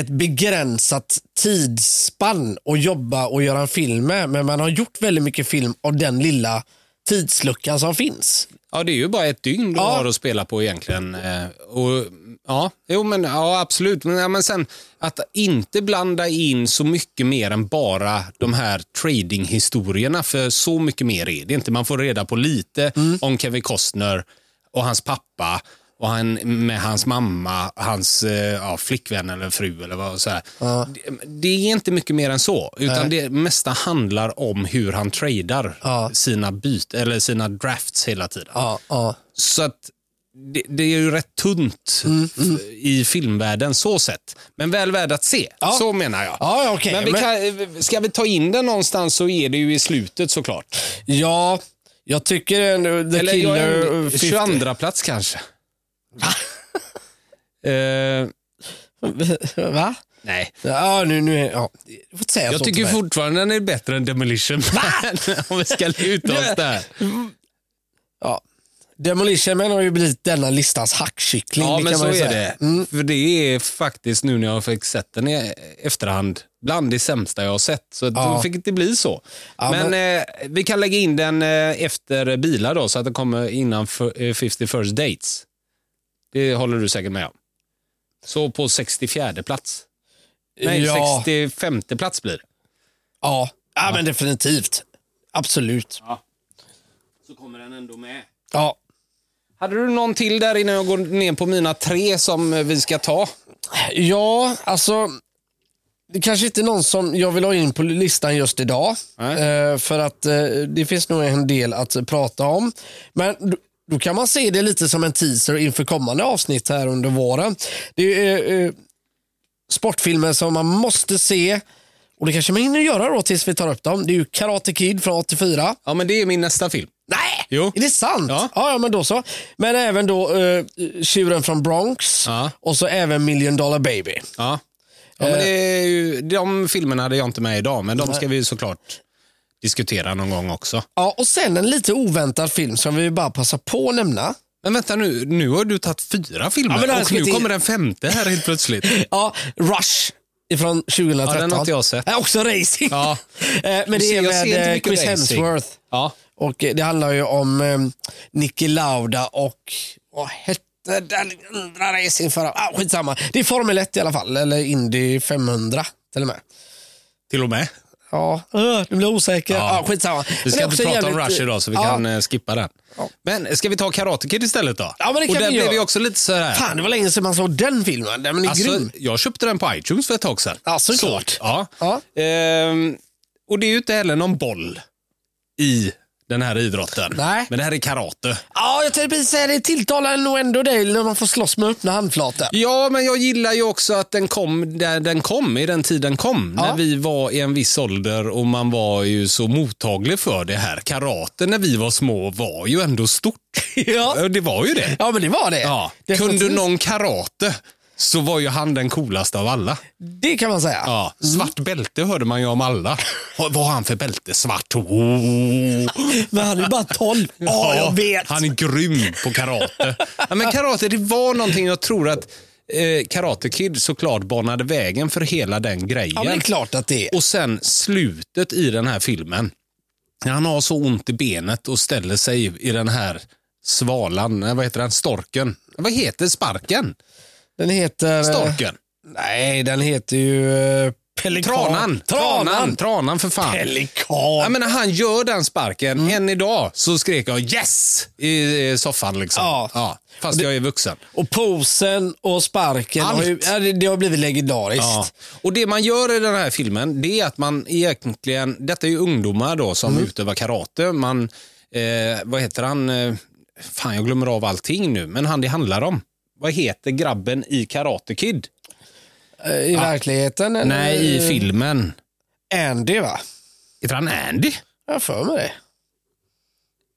Speaker 2: ett begränsat tidsspann att jobba och göra en film med, men man har gjort väldigt mycket film av den lilla tidsluckan som finns.
Speaker 1: Ja, det är ju bara ett dygn du
Speaker 2: Ja.
Speaker 1: har att spela på egentligen. Eh, Och, ja, jo, men, ja, absolut. Men, ja, men sen att inte blanda in så mycket mer än bara de här tradinghistorierna, för så mycket mer är det inte. Man får reda på lite om Kevin Costner och hans pappa och han, med hans mamma, hans eh, ja, flickvän eller fru eller vad så här. Det, det är inte mycket mer än så, utan det mesta handlar om hur han tradar sina byt, eller sina drafts hela tiden.
Speaker 2: Ja, ja.
Speaker 1: Så att det, det är ju rätt tunt
Speaker 2: Mm,
Speaker 1: f- i filmvärlden så sett. Men väl värd att se, så menar jag.
Speaker 2: Ja, ja, okej.
Speaker 1: Men vi kan, ska vi ta in den någonstans så är det ju i slutet såklart.
Speaker 2: ja jag tycker ändå The
Speaker 1: Eller jag
Speaker 2: Killer... uh,
Speaker 1: är en
Speaker 2: 50.
Speaker 1: 22 plats
Speaker 2: *laughs*
Speaker 1: kanske. eh,
Speaker 2: Va?
Speaker 1: nej.
Speaker 2: Ja, nu, nu, är- ja. Du får inte säga
Speaker 1: Jag
Speaker 2: så
Speaker 1: tycker
Speaker 2: till mig.
Speaker 1: fortfarande den är bättre än Demolition Man. *laughs* Om vi ska luta oss där.
Speaker 2: Ja. Demolition Man har ju blivit denna listans hackkyckling.
Speaker 1: Ja,
Speaker 2: det
Speaker 1: men
Speaker 2: kan
Speaker 1: så
Speaker 2: man
Speaker 1: är
Speaker 2: ju säga. Mm.
Speaker 1: det. För det är faktiskt nu när jag fick sett den i efterhand, bland det sämsta jag har sett. Så
Speaker 2: Ja.
Speaker 1: då fick det bli så.
Speaker 2: Ja,
Speaker 1: men eh, vi kan lägga in den eh, efter bilar då, så att den kommer innan för, eh, 50 first dates. Det håller du säkert med om. Så på 64 plats. Nej,
Speaker 2: ja,
Speaker 1: 65 plats blir det.
Speaker 2: ja. ja, men definitivt. Absolut.
Speaker 1: Så kommer den ändå med.
Speaker 2: Ja.
Speaker 1: Hade du någon till där innan jag går ner på mina tre som eh, vi ska ta?
Speaker 2: ja, alltså. Det kanske inte är någon som jag vill ha in på listan just idag.
Speaker 1: Nej.
Speaker 2: Eh, för att eh, det finns nog en del att prata om. Men då, då kan man se det lite som en teaser inför kommande avsnitt här under våren. Det är eh, sportfilmer som man måste se. Och det kanske man hinner göra då tills vi tar upp dem. Det är ju Karate Kid från 84.
Speaker 1: Ja, men det är min nästa film.
Speaker 2: Nej!
Speaker 1: Jo.
Speaker 2: Är det sant?
Speaker 1: Ja.
Speaker 2: Ja. ja, men då så. Men även då eh, Tjuren från Bronx
Speaker 1: Ja.
Speaker 2: och så även Million Dollar Baby.
Speaker 1: Ja. ja men det är ju, de filmerna hade jag inte med idag, men de ska vi ju såklart diskutera någon gång också.
Speaker 2: Ja, och sen en lite oväntad film som vi bara passar på att nämna.
Speaker 1: Men vänta nu, nu har du tagit fyra
Speaker 2: Ja,
Speaker 1: filmer
Speaker 2: men det här
Speaker 1: och
Speaker 2: ska
Speaker 1: nu
Speaker 2: till-
Speaker 1: kommer den femte här helt *laughs* plötsligt.
Speaker 2: Ja, Rush ifrån 2013.
Speaker 1: Ja, den har inte jag sett.
Speaker 2: Äh, också racing.
Speaker 1: Ja.
Speaker 2: *laughs* Eh, men det
Speaker 1: ser-
Speaker 2: är
Speaker 1: jag ser inte
Speaker 2: med eh,
Speaker 1: mycket
Speaker 2: Chris
Speaker 1: racing.
Speaker 2: Hemsworth
Speaker 1: Ja.
Speaker 2: Och eh, det handlar ju om eh, Niki Lauda och vad hette den andra racingföraren? Ah, skitsamma. Det är Formel 1 i alla fall, eller Indy 500 till och med.
Speaker 1: Till och med.
Speaker 2: Ja,
Speaker 1: Äh,
Speaker 2: öh, nu blir jag osäker.
Speaker 1: Ja.
Speaker 2: Ja. Ah, skitsamma.
Speaker 1: Vi
Speaker 2: Men
Speaker 1: ska inte
Speaker 2: det är också
Speaker 1: prata om
Speaker 2: jävligt-
Speaker 1: Rush idag så vi
Speaker 2: ja.
Speaker 1: kan eh, skippa den. Men ska vi ta Karate Kid istället då?
Speaker 2: Ja, men det kan
Speaker 1: och där
Speaker 2: vi
Speaker 1: blev
Speaker 2: göra.
Speaker 1: vi också lite så här.
Speaker 2: Fan, det var länge sedan man såg den filmen. Den är
Speaker 1: Alltså,
Speaker 2: grym.
Speaker 1: jag köpte den på iTunes för ett tag sedan.
Speaker 2: Ja, såklart.
Speaker 1: Ja.
Speaker 2: Ja.
Speaker 1: Ehm, och det är ju inte heller någon boll i den här idrotten.
Speaker 2: Nej.
Speaker 1: Men det här är karate.
Speaker 2: Ja, jag tänkte precis säga det. Tilltalar nog ändå dig när man får slåss med öppna handflator.
Speaker 1: Ja, men jag gillar ju också att den kom där den kom, i den tid den kom.
Speaker 2: Ja.
Speaker 1: När vi var i en viss ålder och man var ju så mottaglig för det här. Karate när vi var små var ju ändå stort.
Speaker 2: Ja.
Speaker 1: Det var ju det.
Speaker 2: ja, men det var det.
Speaker 1: Ja.
Speaker 2: Definitivt.
Speaker 1: Kunde någon karate så var ju han den coolaste av alla.
Speaker 2: Det kan man säga.
Speaker 1: Ja, svart bälte hörde man ju om alla. Vad vad har han för bälte? Svart. Oh.
Speaker 2: Men han är
Speaker 1: *laughs*
Speaker 2: bara 12. Ja, jag vet.
Speaker 1: Han är grym på karate. ja, men karate, det var någonting jag tror att eh, Karate Kid såklart banade vägen för hela den grejen.
Speaker 2: Ja, men det är klart att det är.
Speaker 1: Och sen slutet i den här filmen. När han har så ont i benet och ställer sig i den här svalan, nej, vad heter den, storken. Vad heter sparken?
Speaker 2: Den heter... eh,
Speaker 1: Storken.
Speaker 2: Nej, den heter ju... eh, Pelikan.
Speaker 1: Tranan.
Speaker 2: Tranan.
Speaker 1: Tranan, tranan för fan. Ja,
Speaker 2: Pelikan.
Speaker 1: men när han gör den sparken,
Speaker 2: Mm.
Speaker 1: än idag, så skrek jag yes i eh, soffan. Liksom.
Speaker 2: Ja.
Speaker 1: Fast jag är vuxen.
Speaker 2: Och posen och sparken.
Speaker 1: Allt.
Speaker 2: Har ju, ja, det, det har blivit legendariskt.
Speaker 1: Ja. Och det man gör i den här filmen, det är att man egentligen, detta är ju ungdomar då som utövar karate. Man, eh, vad heter han, eh, fan jag glömmer av allting nu, men han det handlar om. Vad heter grabben i Karate Kid?
Speaker 2: Eh, I verkligheten. eller?
Speaker 1: Nej, i filmen.
Speaker 2: Andy, va?
Speaker 1: Heter han Andy?
Speaker 2: Jag har för mig det.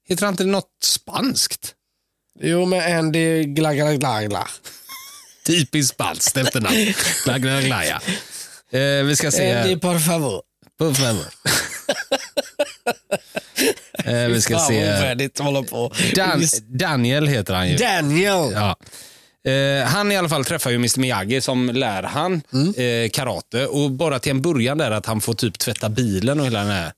Speaker 1: Heter han inte något spanskt?
Speaker 2: Jo, men Andy gla, gla, gla, gla.
Speaker 1: Typiskt spanskt efternamn. Gla, gla, gla, ja. eh, vi ska se.
Speaker 2: Andy, por favor.
Speaker 1: På femmer. eh, vi ska
Speaker 2: Fan, vad
Speaker 1: se.
Speaker 2: ovärdigt att hålla på.
Speaker 1: Dan
Speaker 2: Just-
Speaker 1: Daniel heter han ju.
Speaker 2: Daniel.
Speaker 1: Ja. Eh, han i alla fall träffar ju Mr Miyagi som lär han
Speaker 2: Mm.
Speaker 1: eh, karate. Och bara till en början där att han får typ tvätta bilen och hela den här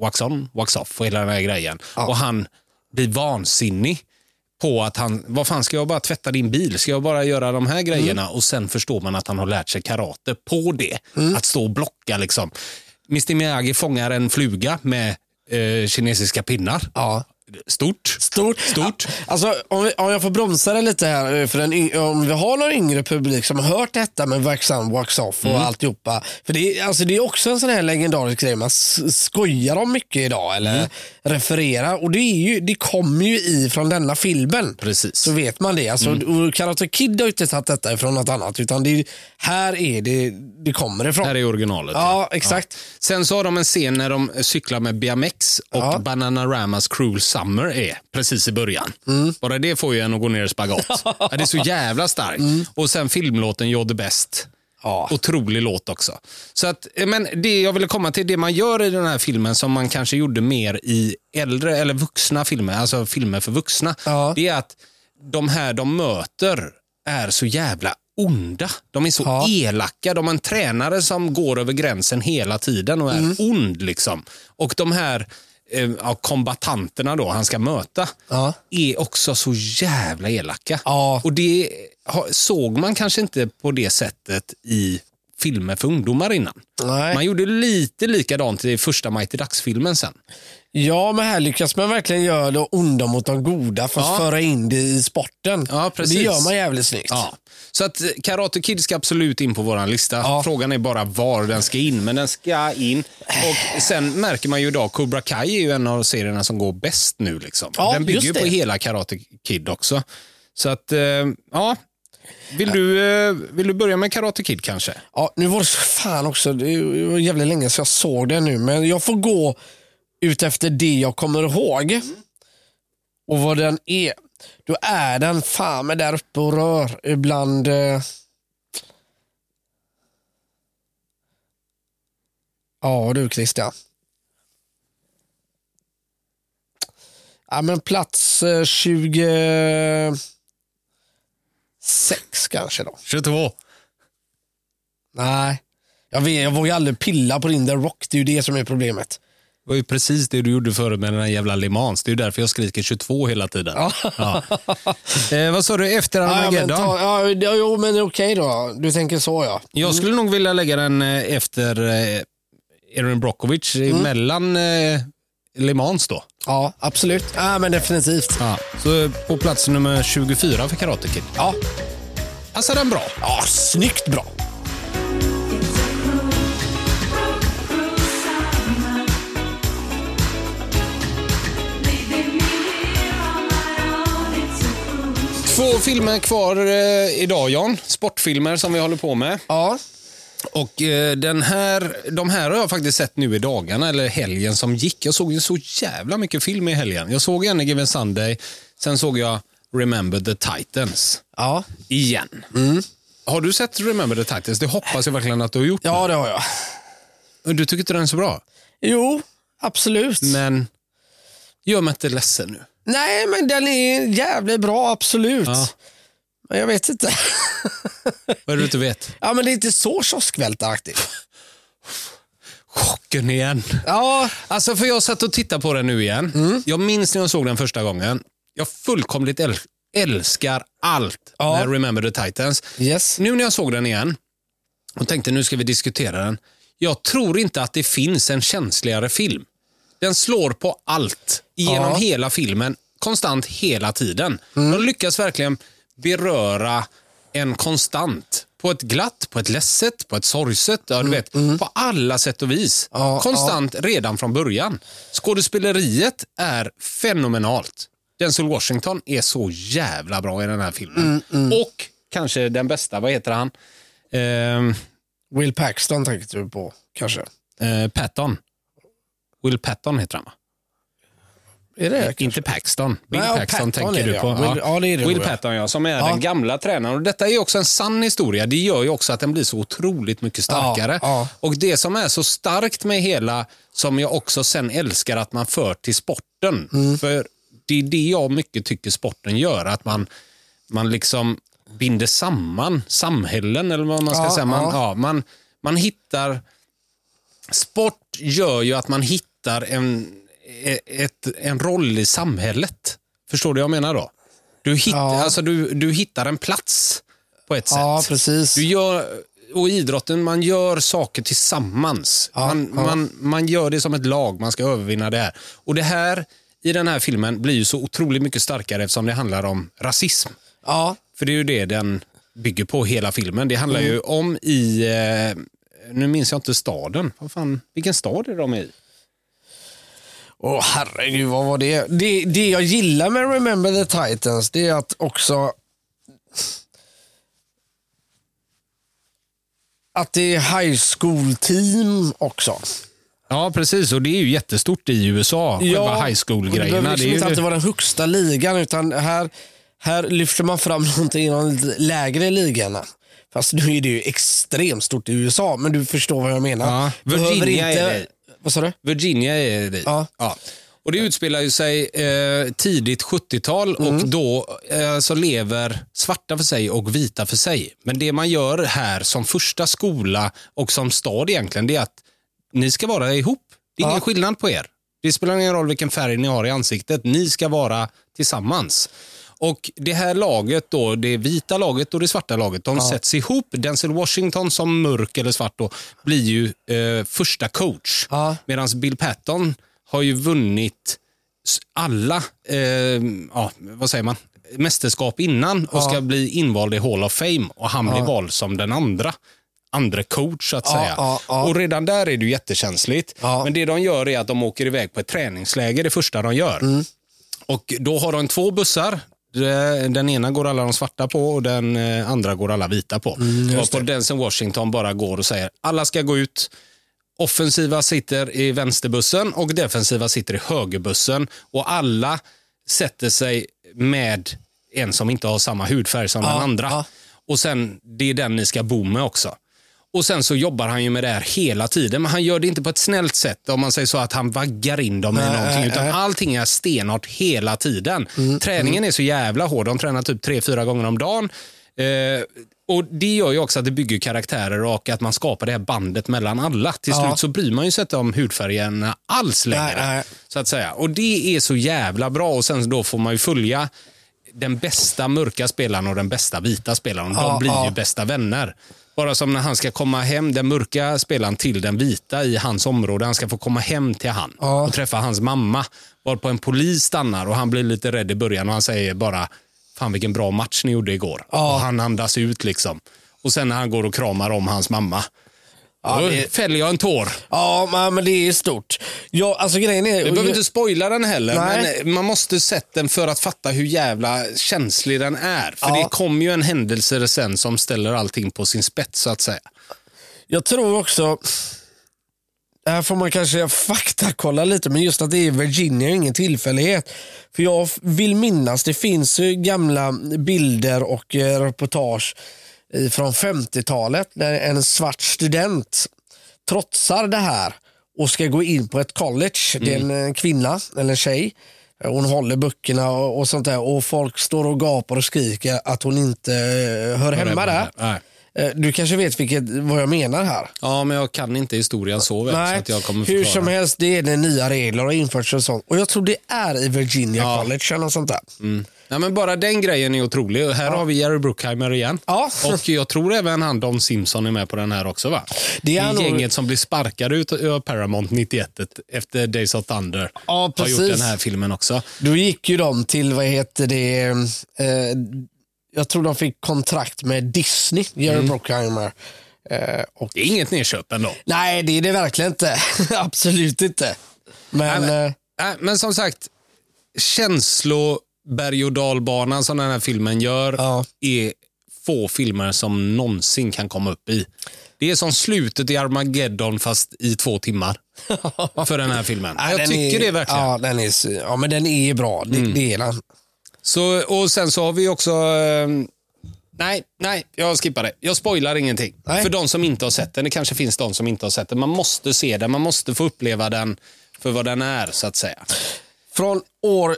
Speaker 1: wax on, wax off och hela den här grejen. Och han blir vansinnig på att han, vad fan ska jag bara tvätta din bil? Ska jag bara göra de här grejerna?
Speaker 2: Mm.
Speaker 1: Och sen förstår man att han har lärt sig karate på det.
Speaker 2: Mm.
Speaker 1: Att stå och blocka liksom. Mr Miyagi fångar en fluga med eh, kinesiska pinnar.
Speaker 2: Ja.
Speaker 1: Stort.
Speaker 2: Stort.
Speaker 1: Stort.
Speaker 2: Alltså, om, vi, om jag får bromsa det lite här, eh, för den, yng- om vi har någon yngre publik som har hört detta med Wax on, Wax off och
Speaker 1: Mm.
Speaker 2: alltihopa. För det, är- alltså, det är också en sån här legendarisk grej man s- skojar om mycket idag eller
Speaker 1: Mm.
Speaker 2: refererar. Och det, är ju, det kommer ju ifrån denna filmen.
Speaker 1: Precis.
Speaker 2: Så vet man det. Alltså,
Speaker 1: Mm.
Speaker 2: och Karate Kid har ju inte tagit detta ifrån något annat, utan det, är- här är det det kommer ifrån.
Speaker 1: Här är originalet.
Speaker 2: ja, exakt.
Speaker 1: Sen så har de en scen när de cyklar med BMX och Bananaramas Cruel Summer är precis i början. Bara det får ju en att gå ner i spagat. ja, det är så jävla starkt. Och sen filmlåten You're the best.
Speaker 2: Ja.
Speaker 1: Otrolig låt också. Så att, eh, men det jag ville komma till, det man gör i den här filmen som man kanske gjorde mer i äldre eller vuxna filmer, alltså filmer för vuxna,
Speaker 2: Ja.
Speaker 1: det är att de här de möter är så jävla onda. De är så
Speaker 2: Ja.
Speaker 1: elaka. De har en tränare som går över gränsen hela tiden och är
Speaker 2: Mm.
Speaker 1: ond. liksom. Och de här eh, ja, kombatanterna då han ska möta
Speaker 2: Ja.
Speaker 1: är också så jävla elaka.
Speaker 2: Ja.
Speaker 1: Och det har- såg man kanske inte på det sättet i filmer för ungdomar innan.
Speaker 2: Nej.
Speaker 1: Man gjorde lite likadant i första Mighty Ducks-filmen sen.
Speaker 2: Ja, men här lyckas man verkligen göra det onda mot de goda för att
Speaker 1: Ja.
Speaker 2: föra in det i sporten.
Speaker 1: Ja,
Speaker 2: Och Det
Speaker 1: precis.
Speaker 2: gör man jävligt snyggt.
Speaker 1: Ja. Så att eh, Karate Kid ska absolut in på våran lista. Frågan är bara var den ska in, men den ska in. Och Sen märker man ju idag, Cobra Kai är ju en av serierna som går bäst nu. Liksom.
Speaker 2: Ja,
Speaker 1: den bygger
Speaker 2: just
Speaker 1: ju på
Speaker 2: det.
Speaker 1: hela Karate Kid också. Så att, eh, ja. Vill du, eh, vill du börja med Karate Kid kanske?
Speaker 2: Ja, nu var det så fan också, det var jävligt länge så jag såg det nu, men jag får gå ut efter det jag kommer ihåg och vad den är. Då är den fan med där uppe och rör ibland... Eh... Ja du Christian. Ja men plats eh, 26 kanske då.
Speaker 1: 22.
Speaker 2: Nej. Jag, vet, jag vågar aldrig pilla på din The Rock. Det är ju det som är problemet.
Speaker 1: var ju precis det du gjorde förut med den här jävla Le Mans. Det är ju därför jag skriker 22 hela tiden. Ja. Eh, vad sa du? Efter
Speaker 2: Ja, men
Speaker 1: Armageddon?
Speaker 2: ta, ja, ja, jo, men okej då. Du tänker så ja.
Speaker 1: Jag skulle
Speaker 2: Mm.
Speaker 1: nog vilja lägga den eh, efter eh, Erin Brockovich
Speaker 2: Mm.
Speaker 1: mellan eh, Le Mans då.
Speaker 2: Ja, absolut. Ja, men definitivt.
Speaker 1: Ja. Så eh, på plats nummer 24 för Karate Kid.
Speaker 2: Ja,
Speaker 1: Alltså den bra.
Speaker 2: ja snyggt bra.
Speaker 1: Två filmer kvar eh, idag Jan. Sportfilmer som vi håller på med.
Speaker 2: Ja,
Speaker 1: Och eh, den här, de här har jag faktiskt sett nu i dagarna, eller helgen som gick. Jag såg ju så jävla mycket film i helgen. Jag såg en Given Sunday, sen såg jag Remember the Titans.
Speaker 2: ja.
Speaker 1: Igen. Har du sett Remember the Titans? Det hoppas jag verkligen att du har gjort.
Speaker 2: ja det har jag.
Speaker 1: Men Du tycker inte den är så bra?
Speaker 2: Jo, absolut.
Speaker 1: Men gör mig inte ledsen nu.
Speaker 2: Nej, men den är jävligt bra, absolut.
Speaker 1: Ja.
Speaker 2: Men jag vet inte. *laughs*
Speaker 1: Vad är det du inte vet?
Speaker 2: ja, men det är inte så kioskvältaraktigt.
Speaker 1: Chocken igen. Mm.
Speaker 2: Ja,
Speaker 1: Alltså för jag satt och tittade på den nu igen. Jag minns när jag såg den första gången. Jag fullkomligt äl- älskar allt
Speaker 2: Ja.
Speaker 1: med Remember the Titans.
Speaker 2: yes.
Speaker 1: Nu när jag såg den igen och tänkte nu ska vi diskutera den. Jag tror inte att det finns en känsligare film. Den slår på allt genom
Speaker 2: Ja. Mm.
Speaker 1: hela filmen, konstant hela tiden. De lyckas verkligen beröra en konstant. På ett glatt, på ett ledset, på ett sorgset, ja, du vet, på alla sätt och vis.
Speaker 2: Mm, Ja,
Speaker 1: konstant redan från början. Skådespeleriet är fenomenalt. Denzel Washington är så jävla bra i den här filmen.
Speaker 2: Mm,
Speaker 1: Och kanske den bästa, vad heter han? Ehm,
Speaker 2: Will Paxton tänkte du på, kanske.
Speaker 1: Eh, Patton. Will Patton heter han va?
Speaker 2: Är det?
Speaker 1: Inte Paxton. Bill
Speaker 2: Nej, ja,
Speaker 1: Paxton
Speaker 2: Patton
Speaker 1: tänker
Speaker 2: är
Speaker 1: du
Speaker 2: det,
Speaker 1: på.
Speaker 2: ja. Will- ja, det är det
Speaker 1: Will
Speaker 2: nog, ja.
Speaker 1: Patton ja, som är den gamla tränaren. Och detta är också en sann historia. Det gör ju också att den blir så otroligt mycket starkare.
Speaker 2: ja.
Speaker 1: Och det som är så starkt med hela, som jag också sen älskar att man för till sporten.
Speaker 2: Mm.
Speaker 1: För det är det jag mycket tycker sporten gör. Att man, man liksom binder samman samhällen eller vad man ska
Speaker 2: Ja,
Speaker 1: säga. Man, ja.
Speaker 2: ja.
Speaker 1: man, man hittar sport gör ju att man hittar en, e- ett, en roll i samhället. Förstår du vad jag menar då? Du, hitt,
Speaker 2: Ja.
Speaker 1: alltså du, du hittar en plats på ett
Speaker 2: Ja,
Speaker 1: sätt.
Speaker 2: precis.
Speaker 1: Du gör, och i idrotten, man gör saker tillsammans. man, Man, man gör det som ett lag, man ska övervinna det här. Och det här i den här filmen blir ju så otroligt mycket starkare eftersom det handlar om rasism.
Speaker 2: Ja,
Speaker 1: För det är ju det den bygger på hela filmen. Det handlar ju om i, eh, nu minns jag inte staden, Vad fan, vilken stad är de i?
Speaker 2: Åh herregud, vad var det? det? Det jag gillar med Remember the Titans, det är att också... Att det är high school-team också.
Speaker 1: Ja precis och det är ju jättestort i USA, själva high
Speaker 2: och Det
Speaker 1: school-grejerna. Det
Speaker 2: behöver liksom
Speaker 1: är
Speaker 2: inte
Speaker 1: ju,
Speaker 2: alltid vara den högsta ligan, utan här, här lyfter man fram *laughs* någonting i de lite lägre ligorna. Fast nu är det ju extremt stort i USA, men du förstår vad jag menar.
Speaker 1: Ja,
Speaker 2: Du behöver
Speaker 1: Virginia är det.
Speaker 2: Vad sa du?
Speaker 1: Virginia är det i.
Speaker 2: Ja.
Speaker 1: Och det utspelar ju sig eh, tidigt 70-tal och
Speaker 2: Mm.
Speaker 1: då eh, så lever svarta för sig och vita för sig. Men det man gör här som första skola och som stad egentligen, det är att ni ska vara ihop. Det är ingen
Speaker 2: Ja.
Speaker 1: skillnad på er. Det spelar ingen roll vilken färg ni har i ansiktet. Ni ska vara tillsammans. Och det här laget då, det vita laget och det svarta laget, de sätts ihop. Denzel Washington som mörk eller svart då, blir ju eh, första coach.
Speaker 2: Ja.
Speaker 1: Medan Bill Patton har ju vunnit s- alla, eh, ja, vad säger man, mästerskap innan och ska bli invald i Hall of Fame och han blir vald som den andra andra coach så att säga.
Speaker 2: ja, ja.
Speaker 1: Och redan där är det ju jättekänsligt.
Speaker 2: Ja.
Speaker 1: Men det de gör är att de åker iväg på ett träningsläger det första de gör.
Speaker 2: Mm.
Speaker 1: Och då har de två bussar. De- Den ena går alla de svarta på och den eh, andra går alla vita på.
Speaker 2: Mm,
Speaker 1: Varpå Denzel Washington bara går och säger alla ska gå ut, offensiva sitter i vänsterbussen och defensiva sitter i högerbussen och alla sätter sig med en som inte har samma hudfärg som den andra.
Speaker 2: ja.
Speaker 1: Och sen, det är den ni ska bo med också. Och sen så jobbar han ju med det här hela tiden, men han gör det inte på ett snällt sätt om man säger så att han vaggar in dem i
Speaker 2: eh,
Speaker 1: någonting, utan allting är stenhårt hela
Speaker 2: Mm.
Speaker 1: tiden. Träningen är så jävla hård, de tränar typ tre fyra gånger om dagen. Eh, Och Det gör ju också att det bygger karaktärer och att man skapar det här bandet mellan alla. Till
Speaker 2: Ja.
Speaker 1: slut så bryr man ju sig inte om hudfärgerna alls längre.
Speaker 2: Nej, nej.
Speaker 1: Så att säga. Och Det är så jävla bra och sen då får man ju följa den bästa mörka spelaren och den bästa vita spelaren. De
Speaker 2: Ja,
Speaker 1: blir
Speaker 2: ja.
Speaker 1: ju bästa vänner. Bara som när han ska komma hem, den mörka spelaren till den vita i hans område. Han ska få komma hem till han
Speaker 2: Ja.
Speaker 1: och träffa hans mamma. Varpå en polis stannar och han blir lite rädd i början och han säger bara Fan vilken bra match ni gjorde igår.
Speaker 2: Ja.
Speaker 1: Och han andas ut liksom. Och sen när han går och kramar om hans mamma. då
Speaker 2: det-
Speaker 1: fäller jag en tår.
Speaker 2: Ja, men- men det är stort. Ja, alltså grejen är...
Speaker 1: Vi behöver inte spoila den heller,
Speaker 2: Nej.
Speaker 1: men eh, man måste sett den för att fatta hur jävla känslig den är. För
Speaker 2: Ja.
Speaker 1: det kom ju en händelse sen som ställer allting på sin spets så att säga.
Speaker 2: Jag tror också, här får man kanske faktakolla lite, men just att det är Virginia är ingen tillfällighet. För jag f- vill minnas, det finns ju gamla bilder och eh, reportage i- från 50-talet när en svart student trotsar det här och ska gå in på ett college. Det är en, en kvinna, eller en tjej. Hon håller böckerna och, och sånt där och folk står och gapar och skriker att hon inte eh, hör hemma där.
Speaker 1: Nej.
Speaker 2: Eh, Du kanske vet vilket, vad jag menar här?
Speaker 1: Ja, men jag kan inte historien så väl så att jag kommer
Speaker 2: hur
Speaker 1: förklara.
Speaker 2: som helst, det är det nya regler och införts och sånt. Och jag tror det är i Virginia College eller något sånt där.
Speaker 1: Nej, men bara den grejen är otrolig. Och Här har vi Jerry Bruckheimer igen.
Speaker 2: Ja.
Speaker 1: Och jag tror även han Don Simpson är med på den här också va?
Speaker 2: Det är han nog-
Speaker 1: gänget som blir sparkade ut ur Paramount 91 efter Days of Thunder.
Speaker 2: Ja,
Speaker 1: Har
Speaker 2: precis.
Speaker 1: gjort den här filmen också.
Speaker 2: Då gick ju de till, vad heter det, eh, jag tror de fick kontrakt med Disney, Jerry
Speaker 1: Mm.
Speaker 2: Bruckheimer. Eh, och,
Speaker 1: Det är inget nedköp ändå.
Speaker 2: nej, det är det verkligen inte. *laughs* Absolut inte. Men,
Speaker 1: Nej, men- *laughs*
Speaker 2: eh,
Speaker 1: Nej, Äh, men som sagt, känsloberg och dalbanan som den här filmen gör
Speaker 2: Ja.
Speaker 1: är få filmer som någonsin kan komma upp i. Det är som slutet i Armageddon fast i två timmar. För den här
Speaker 2: *laughs*
Speaker 1: filmen.
Speaker 2: nej,
Speaker 1: Jag
Speaker 2: den
Speaker 1: tycker
Speaker 2: är,
Speaker 1: det verkligen. Mm.
Speaker 2: Ja, den är, s- ja, men den är bra. Det, det är den.
Speaker 1: Så, och sen så har vi också... eh, Nej, nej, jag skippar det. Jag spoilar ingenting.
Speaker 2: Nej.
Speaker 1: För de som inte har sett den, det kanske finns de som inte har sett den. Man måste se den, man måste få uppleva den för vad den är, så att säga.
Speaker 2: Från år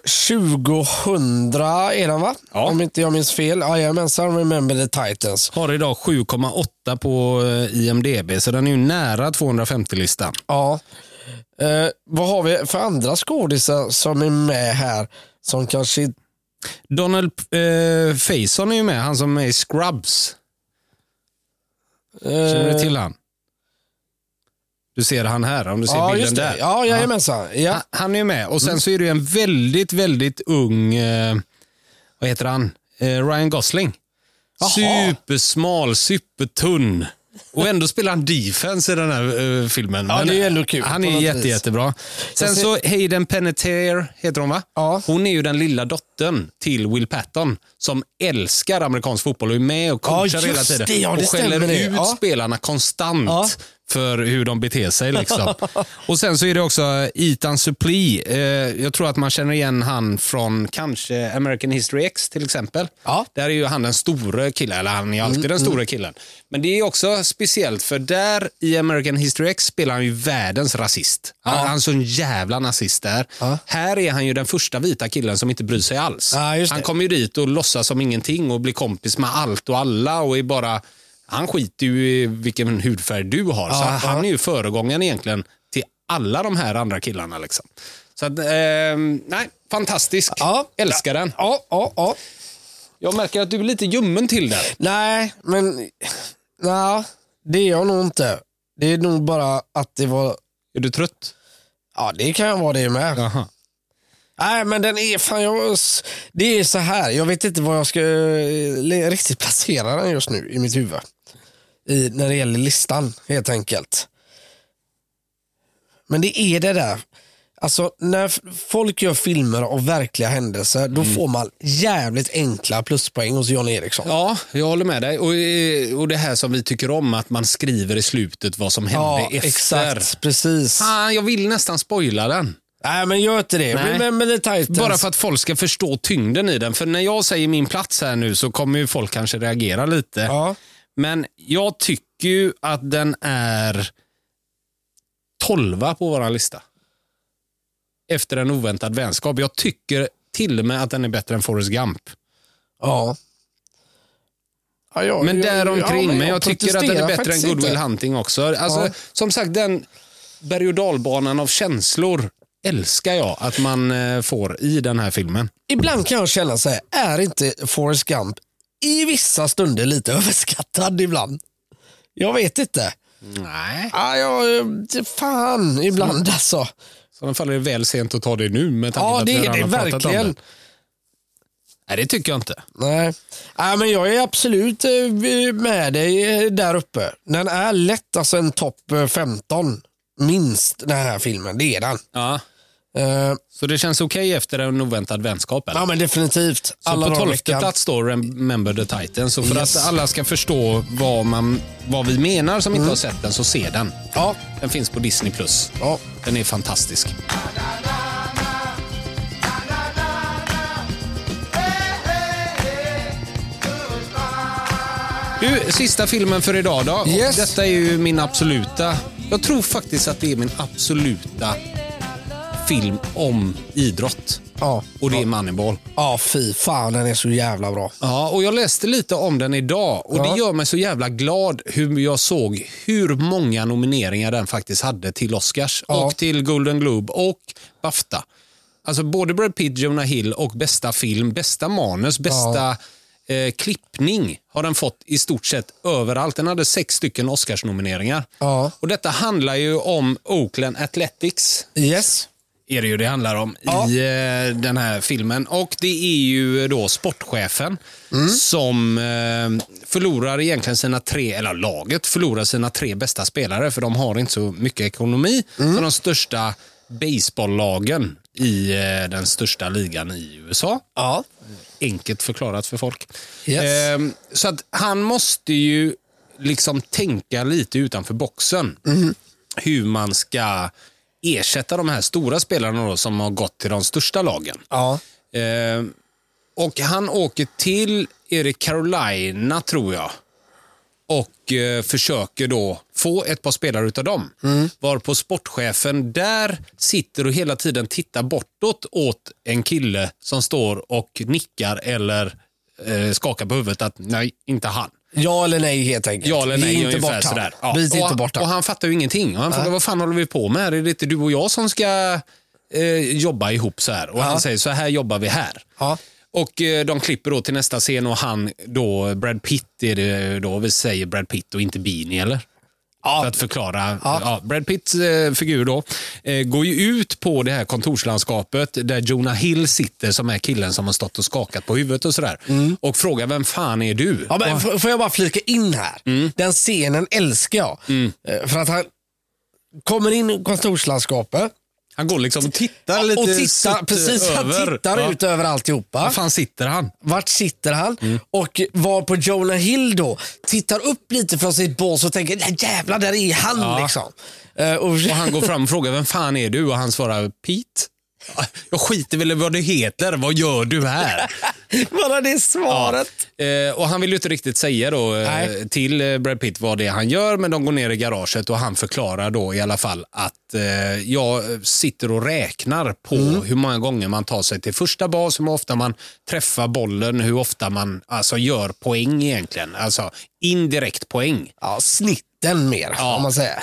Speaker 2: 2000 är den va?
Speaker 1: Ja.
Speaker 2: Om inte jag minns fel. Jajamensan, Remember the Titans.
Speaker 1: Har idag 7,8 på eh, IMDB, så den är ju nära 250-listan.
Speaker 2: Ja. Eh, vad har vi för andra skådisar som är med här? Som kanske...
Speaker 1: Donald eh, Faison är ju med, han som är i Scrubs.
Speaker 2: eh,
Speaker 1: Känner du till han? Du ser han här, om du ser
Speaker 2: Ja,
Speaker 1: bilden
Speaker 2: just
Speaker 1: där. Ah.
Speaker 2: det. Ja, jajamensan. Ja.
Speaker 1: Han- Han är ju med. Och sen så är det ju en väldigt, väldigt ung, eh, vad heter han? Eh, Ryan Gosling. Supersmal, supertunn. Och ändå spelar han defense i den här eh, filmen.
Speaker 2: Ja, det är ju ändå kul
Speaker 1: Han
Speaker 2: på
Speaker 1: är
Speaker 2: något
Speaker 1: jätte,
Speaker 2: vis.
Speaker 1: jättebra. Sen
Speaker 2: ser-
Speaker 1: så Hayden Panettiere heter hon va?
Speaker 2: Ja.
Speaker 1: Hon är ju den lilla dottern till Will Patton som älskar amerikansk fotboll och är med och coachar
Speaker 2: just
Speaker 1: hela tiden.
Speaker 2: det, ja, det
Speaker 1: och skäller
Speaker 2: stämmer det.
Speaker 1: ut
Speaker 2: Ja.
Speaker 1: spelarna konstant
Speaker 2: Ja.
Speaker 1: för hur de beter sig.
Speaker 2: *laughs*
Speaker 1: Liksom. och Sen så är det också eh, Ethan Suplee. Eh, jag tror att man känner igen han från kanske American History X till exempel.
Speaker 2: Ja. Mm,
Speaker 1: Där är ju han den stora killen, eller han är alltid den stora killen. Men det är också speciellt för där i American History X spelar han ju världens rasist. Han, han är så en jävla nazist där. Här är han ju den första vita killen som inte bryr sig alls.
Speaker 2: Ja, just det.
Speaker 1: han kommer ju dit och låtsas som ingenting och blir kompis med allt och alla och är bara han skiter ju i vilken hudfärg du har. så han, han är ju föregångaren egentligen till alla de här andra killarna. Liksom. Så att, ehm, nej, fantastisk.
Speaker 2: Ja.
Speaker 1: Älskar den.
Speaker 2: Ja, ja, ja.
Speaker 1: Jag märker att du är lite ljummen till den.
Speaker 2: Nej, men... Nej, det är jag nog inte. Det är nog bara att det var...
Speaker 1: Är du trött?
Speaker 2: Ja, det kan jag vara det med.
Speaker 1: Jaha.
Speaker 2: Nej, men den är fan, jag, det är så här. Jag vet inte vad jag ska eh, riktigt placera den just nu i mitt huvud. I, när det gäller listan helt enkelt. Men det är det där. Alltså när f- folk gör filmer av verkliga händelser, då
Speaker 1: Mm.
Speaker 2: får man jävligt enkla pluspoäng hos John Eriksson.
Speaker 1: Ja, jag håller med dig. Och, eh, och det här som vi tycker om, att man skriver i slutet vad som hände efter.
Speaker 2: exakt. Precis.
Speaker 1: Fan, jag vill nästan spoila den.
Speaker 2: Nej, men gör inte det.
Speaker 1: Nej.
Speaker 2: Remember the Titans.
Speaker 1: Bara för att folk ska förstå tyngden i den. För när jag säger min plats här nu så kommer ju folk kanske reagera lite.
Speaker 2: Ja.
Speaker 1: Men jag tycker ju att den är 12 på vår lista. Efter en oväntad vänskap. Jag tycker till och med att den är bättre än Forrest Gump.
Speaker 2: Ja. Ja, jag-
Speaker 1: Men
Speaker 2: jag-
Speaker 1: däromkring.
Speaker 2: ja,
Speaker 1: men jag,
Speaker 2: jag
Speaker 1: tycker att den är
Speaker 2: protesterar
Speaker 1: bättre än
Speaker 2: faktiskt
Speaker 1: Goodwill
Speaker 2: inte.
Speaker 1: Hunting också. Alltså,
Speaker 2: Ja.
Speaker 1: Som sagt, den berg och dalbanan av känslor älskar jag att man eh, får i den här filmen.
Speaker 2: Ibland kan jag känna så här, är inte Forrest Gump i vissa stunder lite *laughs* överskattad ibland? Jag vet inte.
Speaker 1: Nej.
Speaker 2: Ah, jag, fan, ibland alltså.
Speaker 1: Så den faller det väl sent att ta det nu med tanke på
Speaker 2: Ja,
Speaker 1: att
Speaker 2: det
Speaker 1: vi
Speaker 2: är
Speaker 1: redan
Speaker 2: det
Speaker 1: har pratat om
Speaker 2: verkligen.
Speaker 1: den. Nej, det tycker jag inte.
Speaker 2: Nej. Nej, men jag är absolut eh, med dig eh, där uppe. Den är lätt alltså en topp eh, 15, minst, den här filmen. Det är den.
Speaker 1: Ja.
Speaker 2: Eh,
Speaker 1: Så det känns okej efter en oväntad vänskap? Eller?
Speaker 2: ja, men definitivt.
Speaker 1: Så på
Speaker 2: dagar i
Speaker 1: tolfte
Speaker 2: veckan.
Speaker 1: plats står Remember the Titan. Så för
Speaker 2: Yes.
Speaker 1: att alla ska förstå vad, man, vad vi menar som inte har sett den, så se den.
Speaker 2: Ja,
Speaker 1: Den finns på Disney+. Plus.
Speaker 2: Mm. ja.
Speaker 1: Den är fantastisk. Du, sista filmen för idag då. Och
Speaker 2: Yes.
Speaker 1: Detta är ju min absoluta... Jag tror faktiskt att det är min absoluta film om idrott.
Speaker 2: Ja.
Speaker 1: Och det är Moneyball.
Speaker 2: ja, fy fan den är så jävla bra.
Speaker 1: Ja, och jag läste lite om den idag och
Speaker 2: Ja.
Speaker 1: det gör mig så jävla glad hur jag såg hur många nomineringar den faktiskt hade till Oscars
Speaker 2: Ja.
Speaker 1: och till Golden Globe och Bafta. Alltså både Brad Pitt, Jonah Hill och bästa film, bästa manus, bästa eh, klippning har den fått i stort sett överallt. Den hade sex stycken Oscarsnomineringar.
Speaker 2: Ja.
Speaker 1: Och detta handlar ju om Oakland Athletics
Speaker 2: Yes.
Speaker 1: är det ju det handlar om
Speaker 2: Ja.
Speaker 1: i eh, den här filmen. Och det är ju då sportchefen som eh, förlorar egentligen sina tre, eller laget förlorar sina tre bästa spelare för de har inte så mycket ekonomi. Så de största baseballlagen i eh, den största ligan i USA.
Speaker 2: Ja.
Speaker 1: Enkelt förklarat för folk.
Speaker 2: Yes.
Speaker 1: Ehm, så att han måste ju liksom tänka lite utanför boxen. Hur man ska ersätta de här stora spelarna då, som har gått till de största lagen.
Speaker 2: Ja.
Speaker 1: Ehm, och han åker till, är det Carolina tror jag? och eh, försöker då få ett par spelare utav dem. Varpå sportchefen där sitter och hela tiden tittar bortåt åt en kille som står och nickar eller eh, skakar på huvudet att nej, inte han.
Speaker 2: Ja eller nej helt enkelt.
Speaker 1: Ja eller
Speaker 2: Vi är
Speaker 1: nej,
Speaker 2: inte
Speaker 1: ungefär
Speaker 2: bort han.
Speaker 1: sådär.
Speaker 2: Vi är
Speaker 1: och,
Speaker 2: inte bort
Speaker 1: och
Speaker 2: han.
Speaker 1: han fattar ju ingenting. Och han frågar vad fan håller vi på med här? Är det inte du och jag som ska eh, jobba ihop så här? Och han säger så här jobbar vi här.
Speaker 2: Ja.
Speaker 1: Och eh, de klipper då till nästa scen och han då, Brad Pitt är det då, vi säger Brad Pitt och inte Beanie eller? För
Speaker 2: Ja.
Speaker 1: att förklara. Ja. Brad Pitts eh, figur då eh, går ju ut på det här kontorslandskapet där Jonah Hill sitter som är killen som har stått och skakat på huvudet och sådär. Och frågar vem fan är du?
Speaker 2: Mm. Ja, men f- får jag bara flika in här?
Speaker 1: Mm.
Speaker 2: Den scenen älskar jag. Eh, För att han kommer in i kontorslandskapet
Speaker 1: Han går liksom och tittar lite
Speaker 2: och
Speaker 1: sött
Speaker 2: tittar, precis,
Speaker 1: över.
Speaker 2: han tittar
Speaker 1: Ja.
Speaker 2: ut över alltihopa.
Speaker 1: Var fan Mm. sitter han?
Speaker 2: Vart sitter han? Och var på Jonah Hill då tittar upp lite från sitt bås och tänker "Nej, jävlar, där är han liksom. Eh, och,
Speaker 1: Och han går fram och frågar vem fan är du? Och han svarar Pete. Jag skiter väl i vad du heter. Vad gör du här?
Speaker 2: *laughs* bara det svaret.
Speaker 1: Eh, och han vill ju inte riktigt säga då, eh,
Speaker 2: Nej.
Speaker 1: till eh, Brad Pitt vad det är han gör, men de går ner i garaget och han förklarar då i alla fall att eh, jag sitter och räknar på
Speaker 2: Mm.
Speaker 1: hur många gånger man tar sig till första bas, hur ofta man träffar bollen, hur ofta man alltså, gör poäng egentligen. Alltså indirekt poäng.
Speaker 2: Ja, snitten mer,
Speaker 1: Ja.
Speaker 2: om man säger.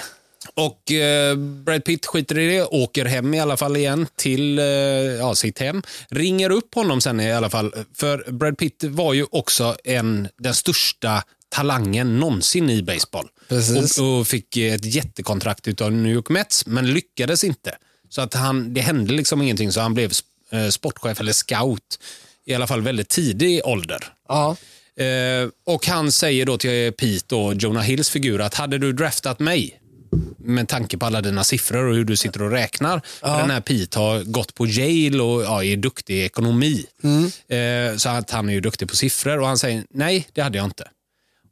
Speaker 1: Och eh, Brad Pitt skiter i det, åker hem i alla fall igen till eh, ja, sitt hem. Ringer upp honom sen i alla fall, för Brad Pitt var ju också en, den största talangen någonsin i baseball.
Speaker 2: Precis.
Speaker 1: Och, och fick ett jättekontrakt av New York Mets, men lyckades inte. Så att han, det hände liksom ingenting, så han blev eh, sportchef eller scout i alla fall väldigt tidig ålder.
Speaker 2: Ja.
Speaker 1: Eh, och han säger då till Pete, då, Jonah Hills figur, att hade du draftat mig med tanke på alla dina siffror och hur du sitter och räknar. för Den här Pete har gått på Yale och ja, är duktig i ekonomi.
Speaker 2: Mm.
Speaker 1: Eh, så att han är ju duktig på siffror och han säger nej, det hade jag inte.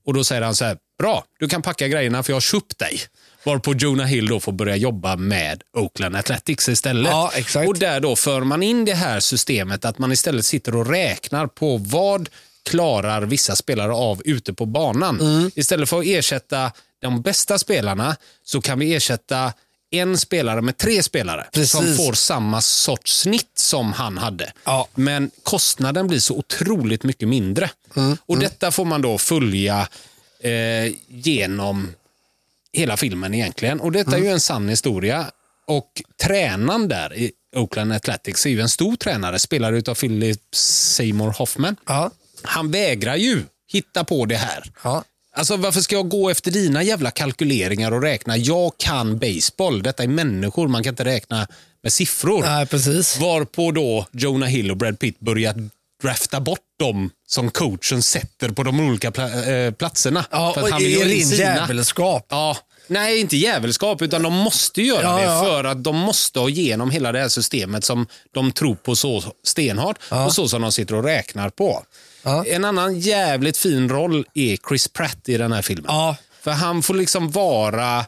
Speaker 1: Och då säger han så här, bra, du kan packa grejerna för jag har köpt dig. Varpå Jonah Hill då får börja jobba med Oakland Athletics istället.
Speaker 2: Ja, exakt.
Speaker 1: Och där då för man in det här systemet att man istället sitter och räknar på vad klarar vissa spelare av ute på
Speaker 2: Mm.
Speaker 1: banan. Istället för att ersätta de bästa spelarna så kan vi ersätta en spelare med tre spelare som
Speaker 2: Precis.
Speaker 1: får samma sorts snitt som han hade.
Speaker 2: Ja.
Speaker 1: Men kostnaden blir så otroligt mycket mindre. Och detta får man då följa eh, genom hela filmen egentligen. Och detta är ju en sann historia. Och tränaren där i Oakland Athletics är ju en stor tränare, spelad av Philip Seymour Hoffman.
Speaker 2: Ja.
Speaker 1: Han vägrar ju hitta på det här.
Speaker 2: Ja.
Speaker 1: Alltså varför ska jag gå efter dina jävla kalkyleringar och räkna? Jag kan baseball. Detta är människor, man kan inte räkna med siffror.
Speaker 2: Nej, precis.
Speaker 1: Varpå då Jonah Hill och Brad Pitt börjar drafta bort dem som coachen sätter på de olika pla- eh, platserna.
Speaker 2: Ja,
Speaker 1: För att
Speaker 2: och
Speaker 1: han vill
Speaker 2: i
Speaker 1: ju ha in
Speaker 2: ren
Speaker 1: sina.
Speaker 2: djävulskap.
Speaker 1: Ja. Nej, inte djävulskap, utan de måste göra
Speaker 2: Ja,
Speaker 1: det
Speaker 2: ja.
Speaker 1: för att de måste ha igenom hela det här systemet som de tror på så stenhårt och så som de sitter och räknar på.
Speaker 2: Ja.
Speaker 1: En annan jävligt fin roll är Chris Pratt i den här filmen.
Speaker 2: Ja.
Speaker 1: För han får liksom vara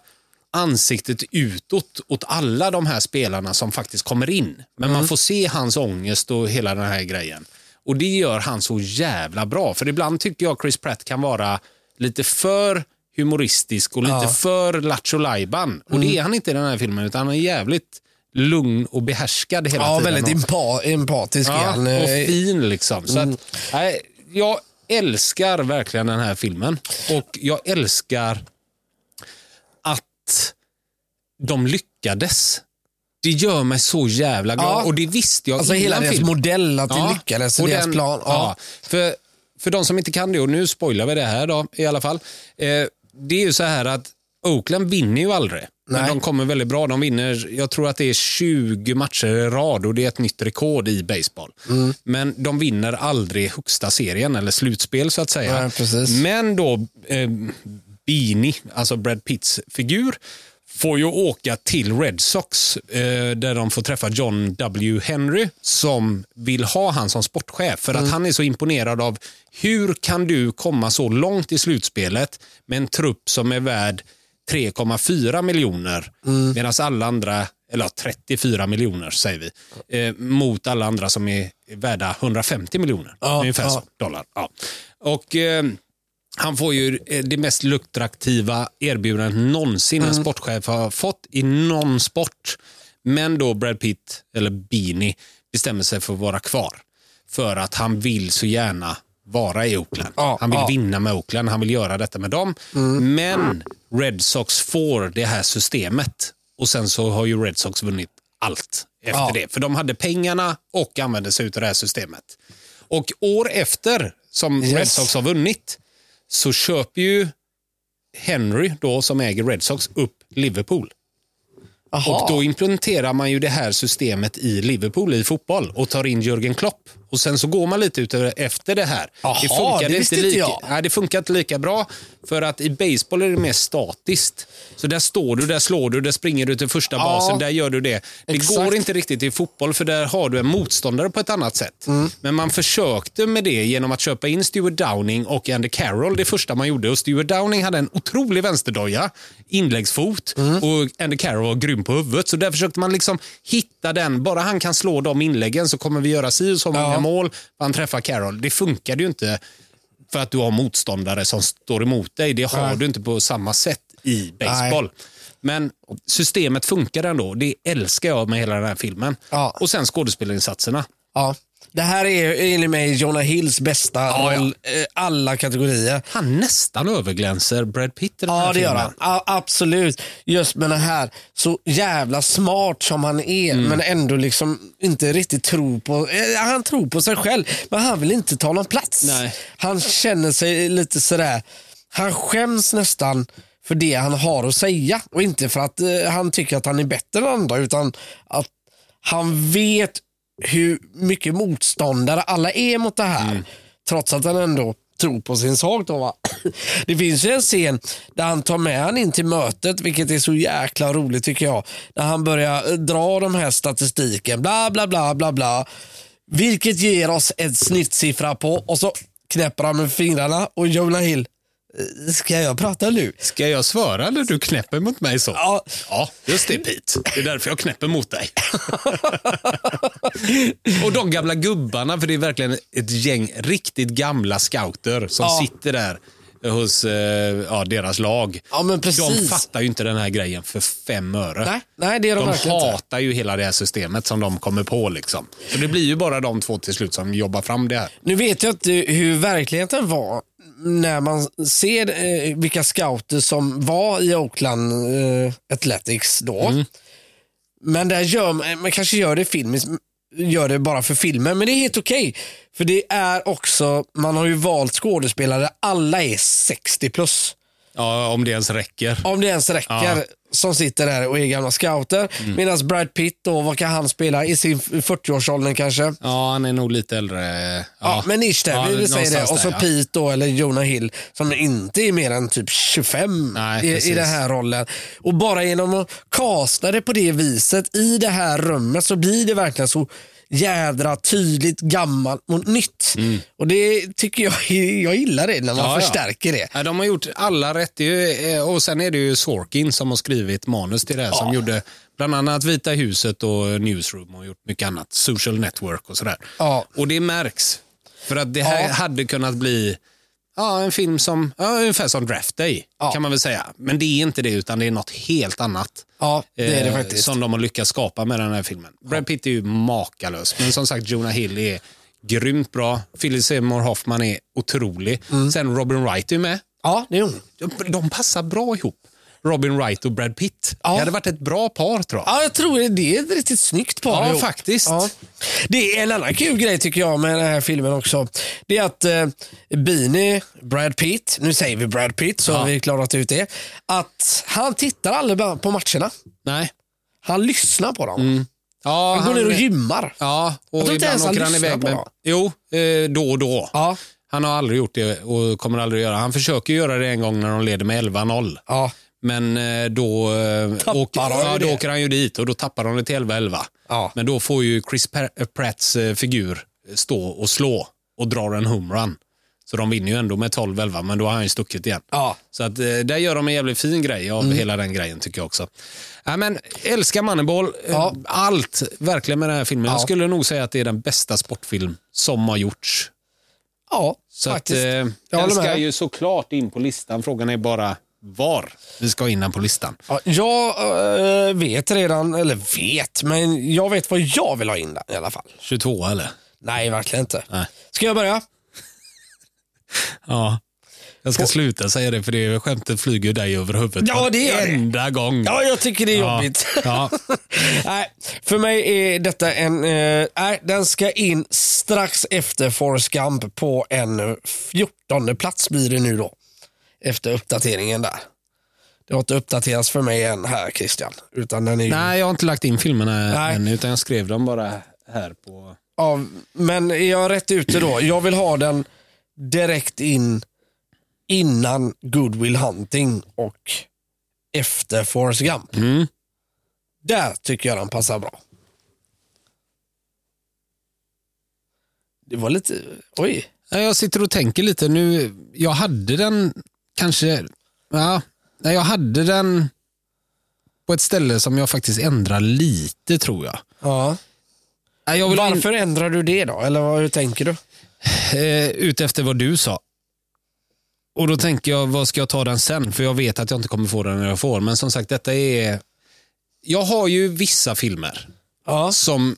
Speaker 1: ansiktet utåt åt alla de här spelarna som faktiskt kommer in. Men
Speaker 2: Mm.
Speaker 1: man får se hans ångest och hela den här grejen. Och det gör han så jävla bra. För ibland tycker jag Chris Pratt kan vara lite för humoristisk och lite för lattjo lajban. Och
Speaker 2: Mm.
Speaker 1: det är han inte i den här filmen, utan han är jävligt lugn och behärskad hela
Speaker 2: Ja,
Speaker 1: tiden.
Speaker 2: väldigt
Speaker 1: också.
Speaker 2: empa- empatisk är
Speaker 1: Ja,
Speaker 2: han. eh, mm.
Speaker 1: och fin liksom. Så att, nej, jag älskar verkligen den här filmen. Och jag älskar att de lyckades. Det gör mig så jävla glad.
Speaker 2: Ja.
Speaker 1: Och det visste jag
Speaker 2: Alltså
Speaker 1: innan
Speaker 2: hela deras
Speaker 1: filmen.
Speaker 2: modell, att det lyckades, och deras
Speaker 1: den-
Speaker 2: plan. Ja.
Speaker 1: För, för de som inte kan det, och nu spoilar vi det här då, i alla fall. Eh, det är ju så här att Oakland vinner ju aldrig. Men
Speaker 2: Nej.
Speaker 1: de kommer väldigt bra. De vinner, jag tror att det är 20 matcher i rad och det är ett nytt rekord i baseball.
Speaker 2: Mm.
Speaker 1: Men de vinner aldrig högsta serien, eller slutspel så att säga.
Speaker 2: Nej, precis.
Speaker 1: Men då, eh, Beanie, alltså Brad Pitts figur, får ju åka till Red Sox eh, där de får träffa John W. Henry som vill ha han som sportchef för
Speaker 2: Mm.
Speaker 1: att han är så imponerad av hur kan du komma så långt i slutspelet med en trupp som är värd 3,4 miljoner
Speaker 2: Mm.
Speaker 1: medan alla andra, eller ja, 34 miljoner säger vi, eh, mot alla andra som är värda 150 miljoner.
Speaker 2: Ja,
Speaker 1: ungefär
Speaker 2: ja.
Speaker 1: så dollar. Ja. Och, eh, han får ju eh, det mest lukrativa erbjudandet någonsin
Speaker 2: Mm.
Speaker 1: en sportchef har fått i någon sport. Men då Brad Pitt, eller Beanie, bestämmer sig för att vara kvar. För att han vill så gärna vara i Oakland.
Speaker 2: Ja,
Speaker 1: han vill
Speaker 2: ja.
Speaker 1: vinna med Oakland, han vill göra detta med dem. Men Red Sox får det här systemet och sen så har ju Red Sox vunnit allt efter
Speaker 2: Ja.
Speaker 1: det. För de hade pengarna och använde sig av det här systemet. Och år efter som
Speaker 2: Yes.
Speaker 1: Red Sox har vunnit så köper ju Henry, då, som äger Red Sox, upp Liverpool.
Speaker 2: Aha.
Speaker 1: Och då implementerar man ju det här systemet i Liverpool i fotboll och tar in Jürgen Klopp. Och sen så går man lite ut efter det här.
Speaker 2: Aha, det visste inte
Speaker 1: lika,
Speaker 2: jag.
Speaker 1: Nej, det funkar inte lika bra. För att i baseball är det mer statiskt. Så där står du, där slår du, där springer du till första basen, där gör du det. Det
Speaker 2: Exakt.
Speaker 1: går inte riktigt i fotboll för där har du en motståndare på ett annat sätt. Men man försökte med det genom att köpa in Stuart Downing och Andy Carroll det första man gjorde. Och Stuart Downing hade en otrolig vänsterdoja, inläggsfot och Andy Carroll var grym på huvudet. Så där försökte man liksom hitta den. Bara han kan slå de inläggen så kommer vi göra si och så många mål. Han träffar Carroll. Det funkade ju inte för att du har motståndare som står emot dig. Det har
Speaker 2: Nej.
Speaker 1: du inte på samma sätt i baseball. Men systemet funkar ändå. Det älskar jag med hela den här filmen.
Speaker 2: Ja.
Speaker 1: Och sen skådespelarinsatserna.
Speaker 2: Ja. Det här är enligt mig Jonah Hills bästa
Speaker 1: Ja, ja.
Speaker 2: roll, eh, alla kategorier.
Speaker 1: Han nästan överglänser Brad Pitt i den
Speaker 2: Ja,
Speaker 1: här
Speaker 2: det gör
Speaker 1: filmen.
Speaker 2: han. A- absolut. Just med den här, så jävla smart som han är,
Speaker 1: Mm.
Speaker 2: men ändå liksom inte riktigt tror på... eh, Han tror på sig själv, men han vill inte ta någon plats.
Speaker 1: Nej.
Speaker 2: Han känner sig lite sådär... Han skäms nästan för det han har att säga och inte för att eh, han tycker att han är bättre än andra, utan att han vet hur mycket motståndare alla är mot det här. Trots att han ändå tror på sin sak. Då, va? *clears throat* Det finns ju en scen där han tar med han in till mötet, vilket är så jäkla roligt tycker jag. När han börjar eh, dra de här statistiken, bla bla bla bla bla. Vilket ger oss en snittsiffra på och så knäpper han med fingrarna och Jonah Hill, eh, ska jag prata nu?
Speaker 1: Ska jag svara eller du knäpper mot mig så?
Speaker 2: Ja,
Speaker 1: Ja, just det Pete. Det är därför jag knäpper mot
Speaker 2: *laughs*
Speaker 1: dig. och de gamla gubbarna, för det är verkligen ett gäng riktigt gamla scouter som
Speaker 2: Ja.
Speaker 1: sitter där. hos eh, ja, deras lag.
Speaker 2: Ja, men
Speaker 1: De
Speaker 2: precis.
Speaker 1: fattar ju inte den här grejen för fem öre.
Speaker 2: nej, nej, det är de,
Speaker 1: De
Speaker 2: verkligen inte.
Speaker 1: hatar ju hela det här systemet som de kommer på. Liksom. Så det blir ju bara de två till slut som jobbar fram det här.
Speaker 2: Nu vet jag inte hur verkligheten var när man ser eh, vilka scouter som var i Oakland eh, Athletics då. Men där gör man, man kanske gör det filmiskt, gör det bara för filmen, men det är helt okej. För det är också, man har ju valt skådespelare, alla är 60 plus.
Speaker 1: Ja, om det ens räcker.
Speaker 2: Om det ens räcker.
Speaker 1: Ja. Mm.
Speaker 2: Som sitter där och är gamla scouter. Medan Brad Pitt då, vad kan han spela? I sin 40-årsåldern kanske.
Speaker 1: Ja, han är nog lite äldre. Ja,
Speaker 2: Ja, men ish där,
Speaker 1: Ja,
Speaker 2: vi säger det.
Speaker 1: någonstans
Speaker 2: Och så
Speaker 1: där, ja.
Speaker 2: Pete då, eller Jonah Hill, som inte är mer än typ 25
Speaker 1: Nej,
Speaker 2: i, i
Speaker 1: precis.
Speaker 2: den här rollen. Och bara genom att kasta det på det viset i det här rummet så blir det verkligen så jädra tydligt gammalt och nytt. Och det tycker jag, *laughs* jag gillar det när man
Speaker 1: Mm. Ja, ja.
Speaker 2: förstärker det.
Speaker 1: Ja, de har gjort alla rätt. Det är ju, eh, och sen är det ju Sorkin som har skrivit manus till det här som gjorde bland annat Vita huset och Newsroom och gjort mycket annat. Social Network och sådär.
Speaker 2: Ja.
Speaker 1: Och det märks. För att det här
Speaker 2: Ja.
Speaker 1: hade kunnat bli ja, en film som, ja, ungefär som Draft Day
Speaker 2: Ja.
Speaker 1: kan man väl säga. Men det är inte det utan det är något helt annat.
Speaker 2: Ja, det är det
Speaker 1: eh,
Speaker 2: faktiskt.
Speaker 1: Som de har lyckats skapa med den här filmen. Brad Pitt är ju makalös, men som sagt Jonah Hill är grymt bra. Philip Seymour Hoffman är otrolig. Sen Robin Wright är ju med.
Speaker 2: Mm. Ja, det är hon.
Speaker 1: De- De passar bra ihop. Robin Wright och Brad Pitt.
Speaker 2: Ja.
Speaker 1: Det hade varit ett bra par tror jag.
Speaker 2: Ja, jag tror det- det är ett riktigt snyggt par.
Speaker 1: Ja,
Speaker 2: ihop.
Speaker 1: faktiskt.
Speaker 2: Det är en annan kul grej tycker jag med den här filmen också. Det är att eh, Beanie, Brad Pitt, nu säger vi Brad Pitt så har vi klarat ut det. Att han tittar aldrig bara på matcherna.
Speaker 1: Nej.
Speaker 2: Han lyssnar på dem.
Speaker 1: Mm. Ja,
Speaker 2: Han går ner och gymmar.
Speaker 1: Ja,
Speaker 2: Jag
Speaker 1: och
Speaker 2: tror inte ens
Speaker 1: ibland
Speaker 2: han
Speaker 1: åker han
Speaker 2: lyssnar
Speaker 1: iväg
Speaker 2: på
Speaker 1: med...
Speaker 2: dem.
Speaker 1: Jo, eh, då och då.
Speaker 2: Ja.
Speaker 1: Han har aldrig gjort det och kommer aldrig göra. Han försöker göra det en gång när de leder med 11-0.
Speaker 2: Ja.
Speaker 1: Men eh, då, eh,
Speaker 2: Tappar
Speaker 1: åker,
Speaker 2: han ju
Speaker 1: ja, då
Speaker 2: det.
Speaker 1: åker han ju dit och då tappar de det till 11-11.
Speaker 2: Ja.
Speaker 1: Men då får ju Chris Per- Pratts eh, figur stå och slå och drar en homerun. Så de vinner ju ändå med 12-11, men då har han ju stuckit igen.
Speaker 2: Ja. Mm.
Speaker 1: Så att, eh, där gör de en jävligt fin grej av hela den grejen tycker jag också. Ja, men, älskar Moneyball, eh,
Speaker 2: Ja.
Speaker 1: allt verkligen med den här filmen. Jag
Speaker 2: Ja.
Speaker 1: skulle nog säga att det är den bästa sportfilm som har gjorts.
Speaker 2: Ja,
Speaker 1: Så att, eh,
Speaker 2: faktiskt. jag
Speaker 1: den
Speaker 2: håller
Speaker 1: ska
Speaker 2: med.
Speaker 1: ju såklart in på listan. Frågan är bara var vi ska in den på listan.
Speaker 2: Ja, jag eh, vet redan, eller vet, men jag vet vad jag vill ha in där i alla fall.
Speaker 1: 22 eller?
Speaker 2: Nej, verkligen inte.
Speaker 1: Nej.
Speaker 2: Ska jag börja?
Speaker 1: Ja. Jag ska sluta säga det för det skämtet flyger dig över huvudet
Speaker 2: Ja, det gör det.
Speaker 1: varenda gång.
Speaker 2: Ja, jag tycker det är
Speaker 1: Ja.
Speaker 2: jobbigt. *laughs*
Speaker 1: Ja.
Speaker 2: Nej, för mig är detta en... eh, Nej, den ska in strax efter Forrest Gump på en 14 plats blir det nu då. Efter uppdateringen där. Det har inte uppdaterats för mig än här Christian. Utan den är ju...
Speaker 1: Nej, jag har inte lagt in filmerna
Speaker 2: Nej.
Speaker 1: än utan jag skrev dem bara här på...
Speaker 2: Ja, men är jag rätt ute då? Jag vill ha den direkt in innan Goodwill Hunting och efter Forrest Gump.
Speaker 1: Mm.
Speaker 2: Där tycker jag den passar bra. Det var lite, oj.
Speaker 1: Nej, Jag sitter och tänker lite nu. Jag hade den kanske... Ja, nej, jag hade den på ett ställe som jag faktiskt ändrar lite tror jag.
Speaker 2: Ja.
Speaker 1: Nej, jag vill in-
Speaker 2: Varför ändrar du det då? Eller vad, hur tänker du?
Speaker 1: eh, ute efter vad du sa. Och då tänker jag, vad ska jag ta den sen? För jag vet att jag inte kommer få den när jag får. Men som sagt, detta är... Jag har ju vissa filmer
Speaker 2: Ja.
Speaker 1: som,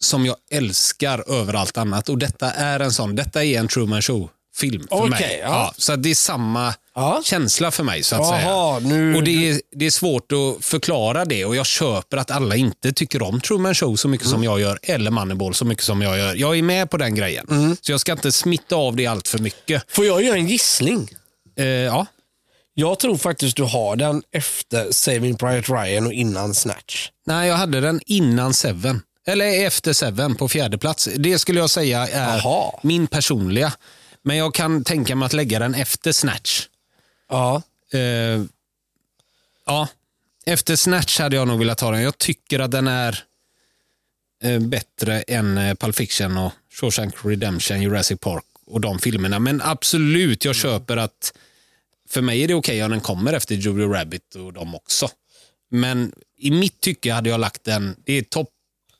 Speaker 1: som jag älskar över allt annat. Och detta är en sån. Detta är en Truman Show-film för
Speaker 2: Okej,
Speaker 1: mig.
Speaker 2: ja.
Speaker 1: så att det är samma
Speaker 2: Ja.
Speaker 1: känsla för mig, så att säga.
Speaker 2: Jaha, nu...
Speaker 1: Och det är, det är svårt att förklara det och jag köper att alla inte tycker om Truman Show så mycket som jag gör, eller Moneyball så mycket som jag gör. Jag är med på den grejen. Så jag ska inte smitta av det allt för mycket.
Speaker 2: Får jag göra en gissning?
Speaker 1: Eh, ja.
Speaker 2: Jag tror faktiskt du har den efter Saving Private Ryan och innan Snatch.
Speaker 1: Nej, jag hade den innan Seven. Eller efter Seven på fjärde plats. Det skulle jag säga är
Speaker 2: Jaha.
Speaker 1: min personliga. Men jag kan tänka mig att lägga den efter Snatch.
Speaker 2: Ja.
Speaker 1: Eh, ja, efter Snatch hade jag nog velat ha den. Jag tycker att den är eh, bättre än eh, Pulp Fiction och Shawshank Redemption, Jurassic Park och de filmerna. Men absolut, jag köper att för mig är det okej om den kommer efter Jojo Rabbit och dem också. Men i mitt tycke hade jag lagt den, det är topp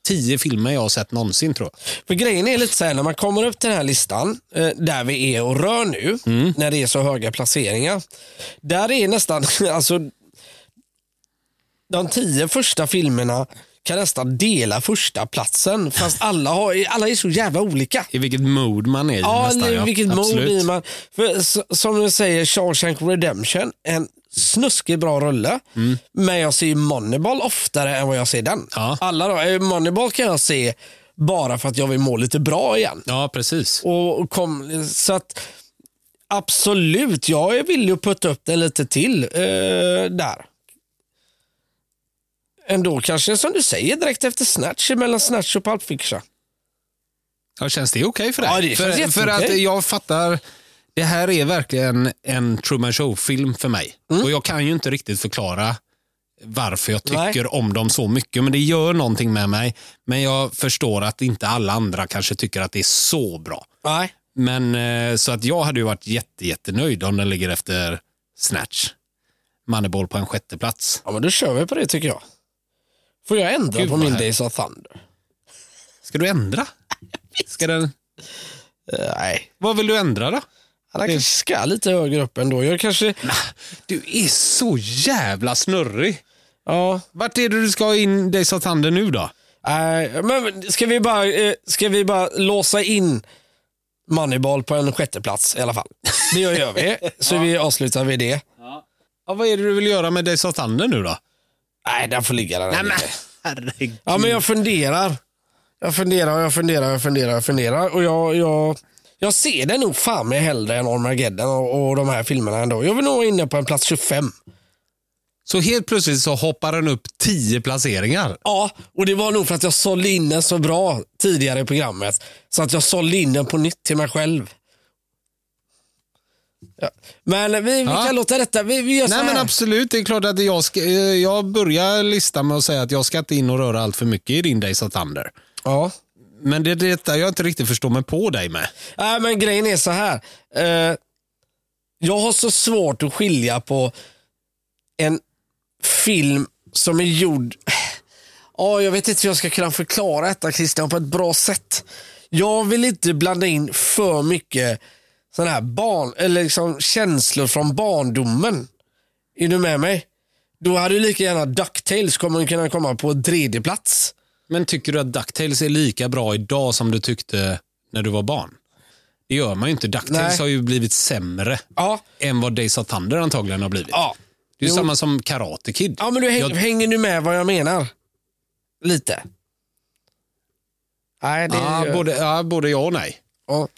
Speaker 1: tio filmer jag har sett någonsin tror jag.
Speaker 2: För grejen är lite så här, när man kommer upp till den här listan, eh, där vi är och rör nu, när det är så höga placeringar. Där är nästan, *laughs* alltså, de tio första filmerna kan nästan dela första platsen fast alla, har, alla är så jävla olika.
Speaker 1: I vilket mood man är i
Speaker 2: Ja,
Speaker 1: nästan.
Speaker 2: eller vilket mode
Speaker 1: Absolut.
Speaker 2: i man. För, s- som du säger, Shawshank Redemption, en snuskigt bra rulle. Men jag ser ju Moneyball oftare än vad jag ser den.
Speaker 1: Mm. Ja.
Speaker 2: Alla då, eh, Moneyball kan jag se bara för att jag vill må lite bra igen.
Speaker 1: Ja, precis.
Speaker 2: Och och kom, så att absolut, jag är villig att putta upp den lite till eh, där. Ändå kanske som du säger direkt efter Snatch, mellan Snatch och Pulp Fiction.
Speaker 1: Ja, känns det okej för dig?
Speaker 2: Ja, det känns
Speaker 1: för, för
Speaker 2: jätteokej.
Speaker 1: att jag fattar, det här är verkligen en Truman Show-film för mig. Och jag kan ju inte riktigt förklara varför jag tycker
Speaker 2: Nej.
Speaker 1: om dem så mycket, men det gör någonting med mig. Men jag förstår att inte alla andra kanske tycker att det är så bra.
Speaker 2: Nej.
Speaker 1: Men eh, så att jag hade ju varit jätte, jättenöjd om den ligger efter Snatch. Moneyball på en sjätte plats.
Speaker 2: Ja, men då kör vi på det tycker jag. Får jag ändra
Speaker 1: Gud,
Speaker 2: på
Speaker 1: vad
Speaker 2: min
Speaker 1: härligt.
Speaker 2: Days of Thunder?
Speaker 1: Ska du ändra? Ska den,
Speaker 2: Eh, Nej.
Speaker 1: vad vill du ändra då?
Speaker 2: Han kanske ska lite högre upp ändå. Jag kanske...
Speaker 1: Du är så jävla snurrig.
Speaker 2: Ja.
Speaker 1: Vart är det du ska ha in Days of Thunder nu då?
Speaker 2: Nej, men ska vi bara, eh, ska vi bara låsa in Moneyball på en sjätteplats i alla fall? Det gör vi, *laughs* så vi avslutar med det.
Speaker 1: Ja, vad är det du vill göra med Days of Thunder nu då?
Speaker 2: Nej, den får ligga där. den ligger.
Speaker 1: herregud.
Speaker 2: Ja, men jag funderar. Jag funderar, jag funderar, jag funderar, jag funderar. Och jag, jag, jag ser den nog fan mig hellre än Armageddon och, och de här filmerna ändå. Jag vill nog vara inne på en plats 25.
Speaker 1: Så helt plötsligt så hoppar den upp tio placeringar.
Speaker 2: Ja, och det var nog för att jag sålde in den så bra tidigare i programmet. Så att jag sålde in den på nytt till mig själv. Ja. Men eh, vi, vi
Speaker 1: Ja.
Speaker 2: kan låta detta, vi, vi gör så
Speaker 1: Nej men
Speaker 2: här.
Speaker 1: absolut, det är klart att jag, ska, eh, jag börjar listan med att säga att jag ska inte in och röra allt för mycket i din Days of Thunder.
Speaker 2: ja.
Speaker 1: Men det är detta jag inte riktigt förstår mig på dig med.
Speaker 2: Nej, men grejen är så här. Eh, jag har så svårt att skilja på en film som är gjord... Ja, jag vet inte hur jag ska kunna förklara detta Christian på ett bra sätt. Jag vill inte blanda in för mycket sådana här barn, eller liksom känslor från barndomen. Är du med mig? Då hade ju lika gärna DuckTales kommer kunna komma på tredje plats.
Speaker 1: Men tycker du att DuckTales är lika bra idag som du tyckte när du var barn? Det gör man ju inte. DuckTales
Speaker 2: Nej.
Speaker 1: har ju blivit sämre
Speaker 2: Ja,
Speaker 1: än vad Days of Thunder antagligen har blivit.
Speaker 2: ja.
Speaker 1: Det är ju
Speaker 2: Jo.
Speaker 1: samma som Karate Kid.
Speaker 2: Ja, men du häng,
Speaker 1: Jag-
Speaker 2: hänger nu med vad jag menar? Lite. Nej, det
Speaker 1: Ja, både, ja, både ja och nej.
Speaker 2: ja.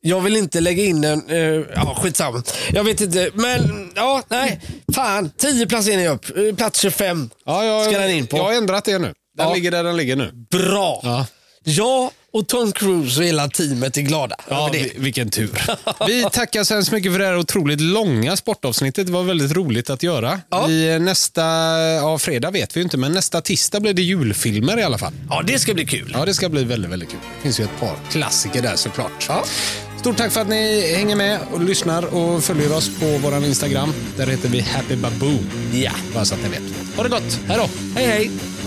Speaker 2: Jag vill inte lägga in en... eh, ja, skitsamma. Jag vet inte, men ja, nej. Fan, 10 placeringar upp. Eh, Plats 25.
Speaker 1: Ja, jag,
Speaker 2: Ska den in på?
Speaker 1: Jag har ändrat det nu. Den
Speaker 2: Ja.
Speaker 1: ligger där den ligger nu.
Speaker 2: Bra!
Speaker 1: Ja.
Speaker 2: Jag och Tom Cruise och hela teamet är glada
Speaker 1: Ja,
Speaker 2: över det.
Speaker 1: vi- vilken
Speaker 2: *laughs*
Speaker 1: tur. Vi tackar så hemskt mycket för det här otroligt långa sportavsnittet. Det var väldigt roligt att göra.
Speaker 2: Ja.
Speaker 1: I nästa, ja, fredag vet vi ju inte, men nästa tisdag blir det julfilmer i alla fall.
Speaker 2: Ja, det ska bli kul.
Speaker 1: Ja, det ska bli väldigt, väldigt kul. Det finns ju ett par klassiker där såklart. Stort tack för att ni hänger med och lyssnar och följer oss på vår Instagram. Där heter vi Happy Baboo.
Speaker 2: Ja.
Speaker 1: Bara så att ni vet. Ha det gott. Hej då!
Speaker 2: Hej, hej.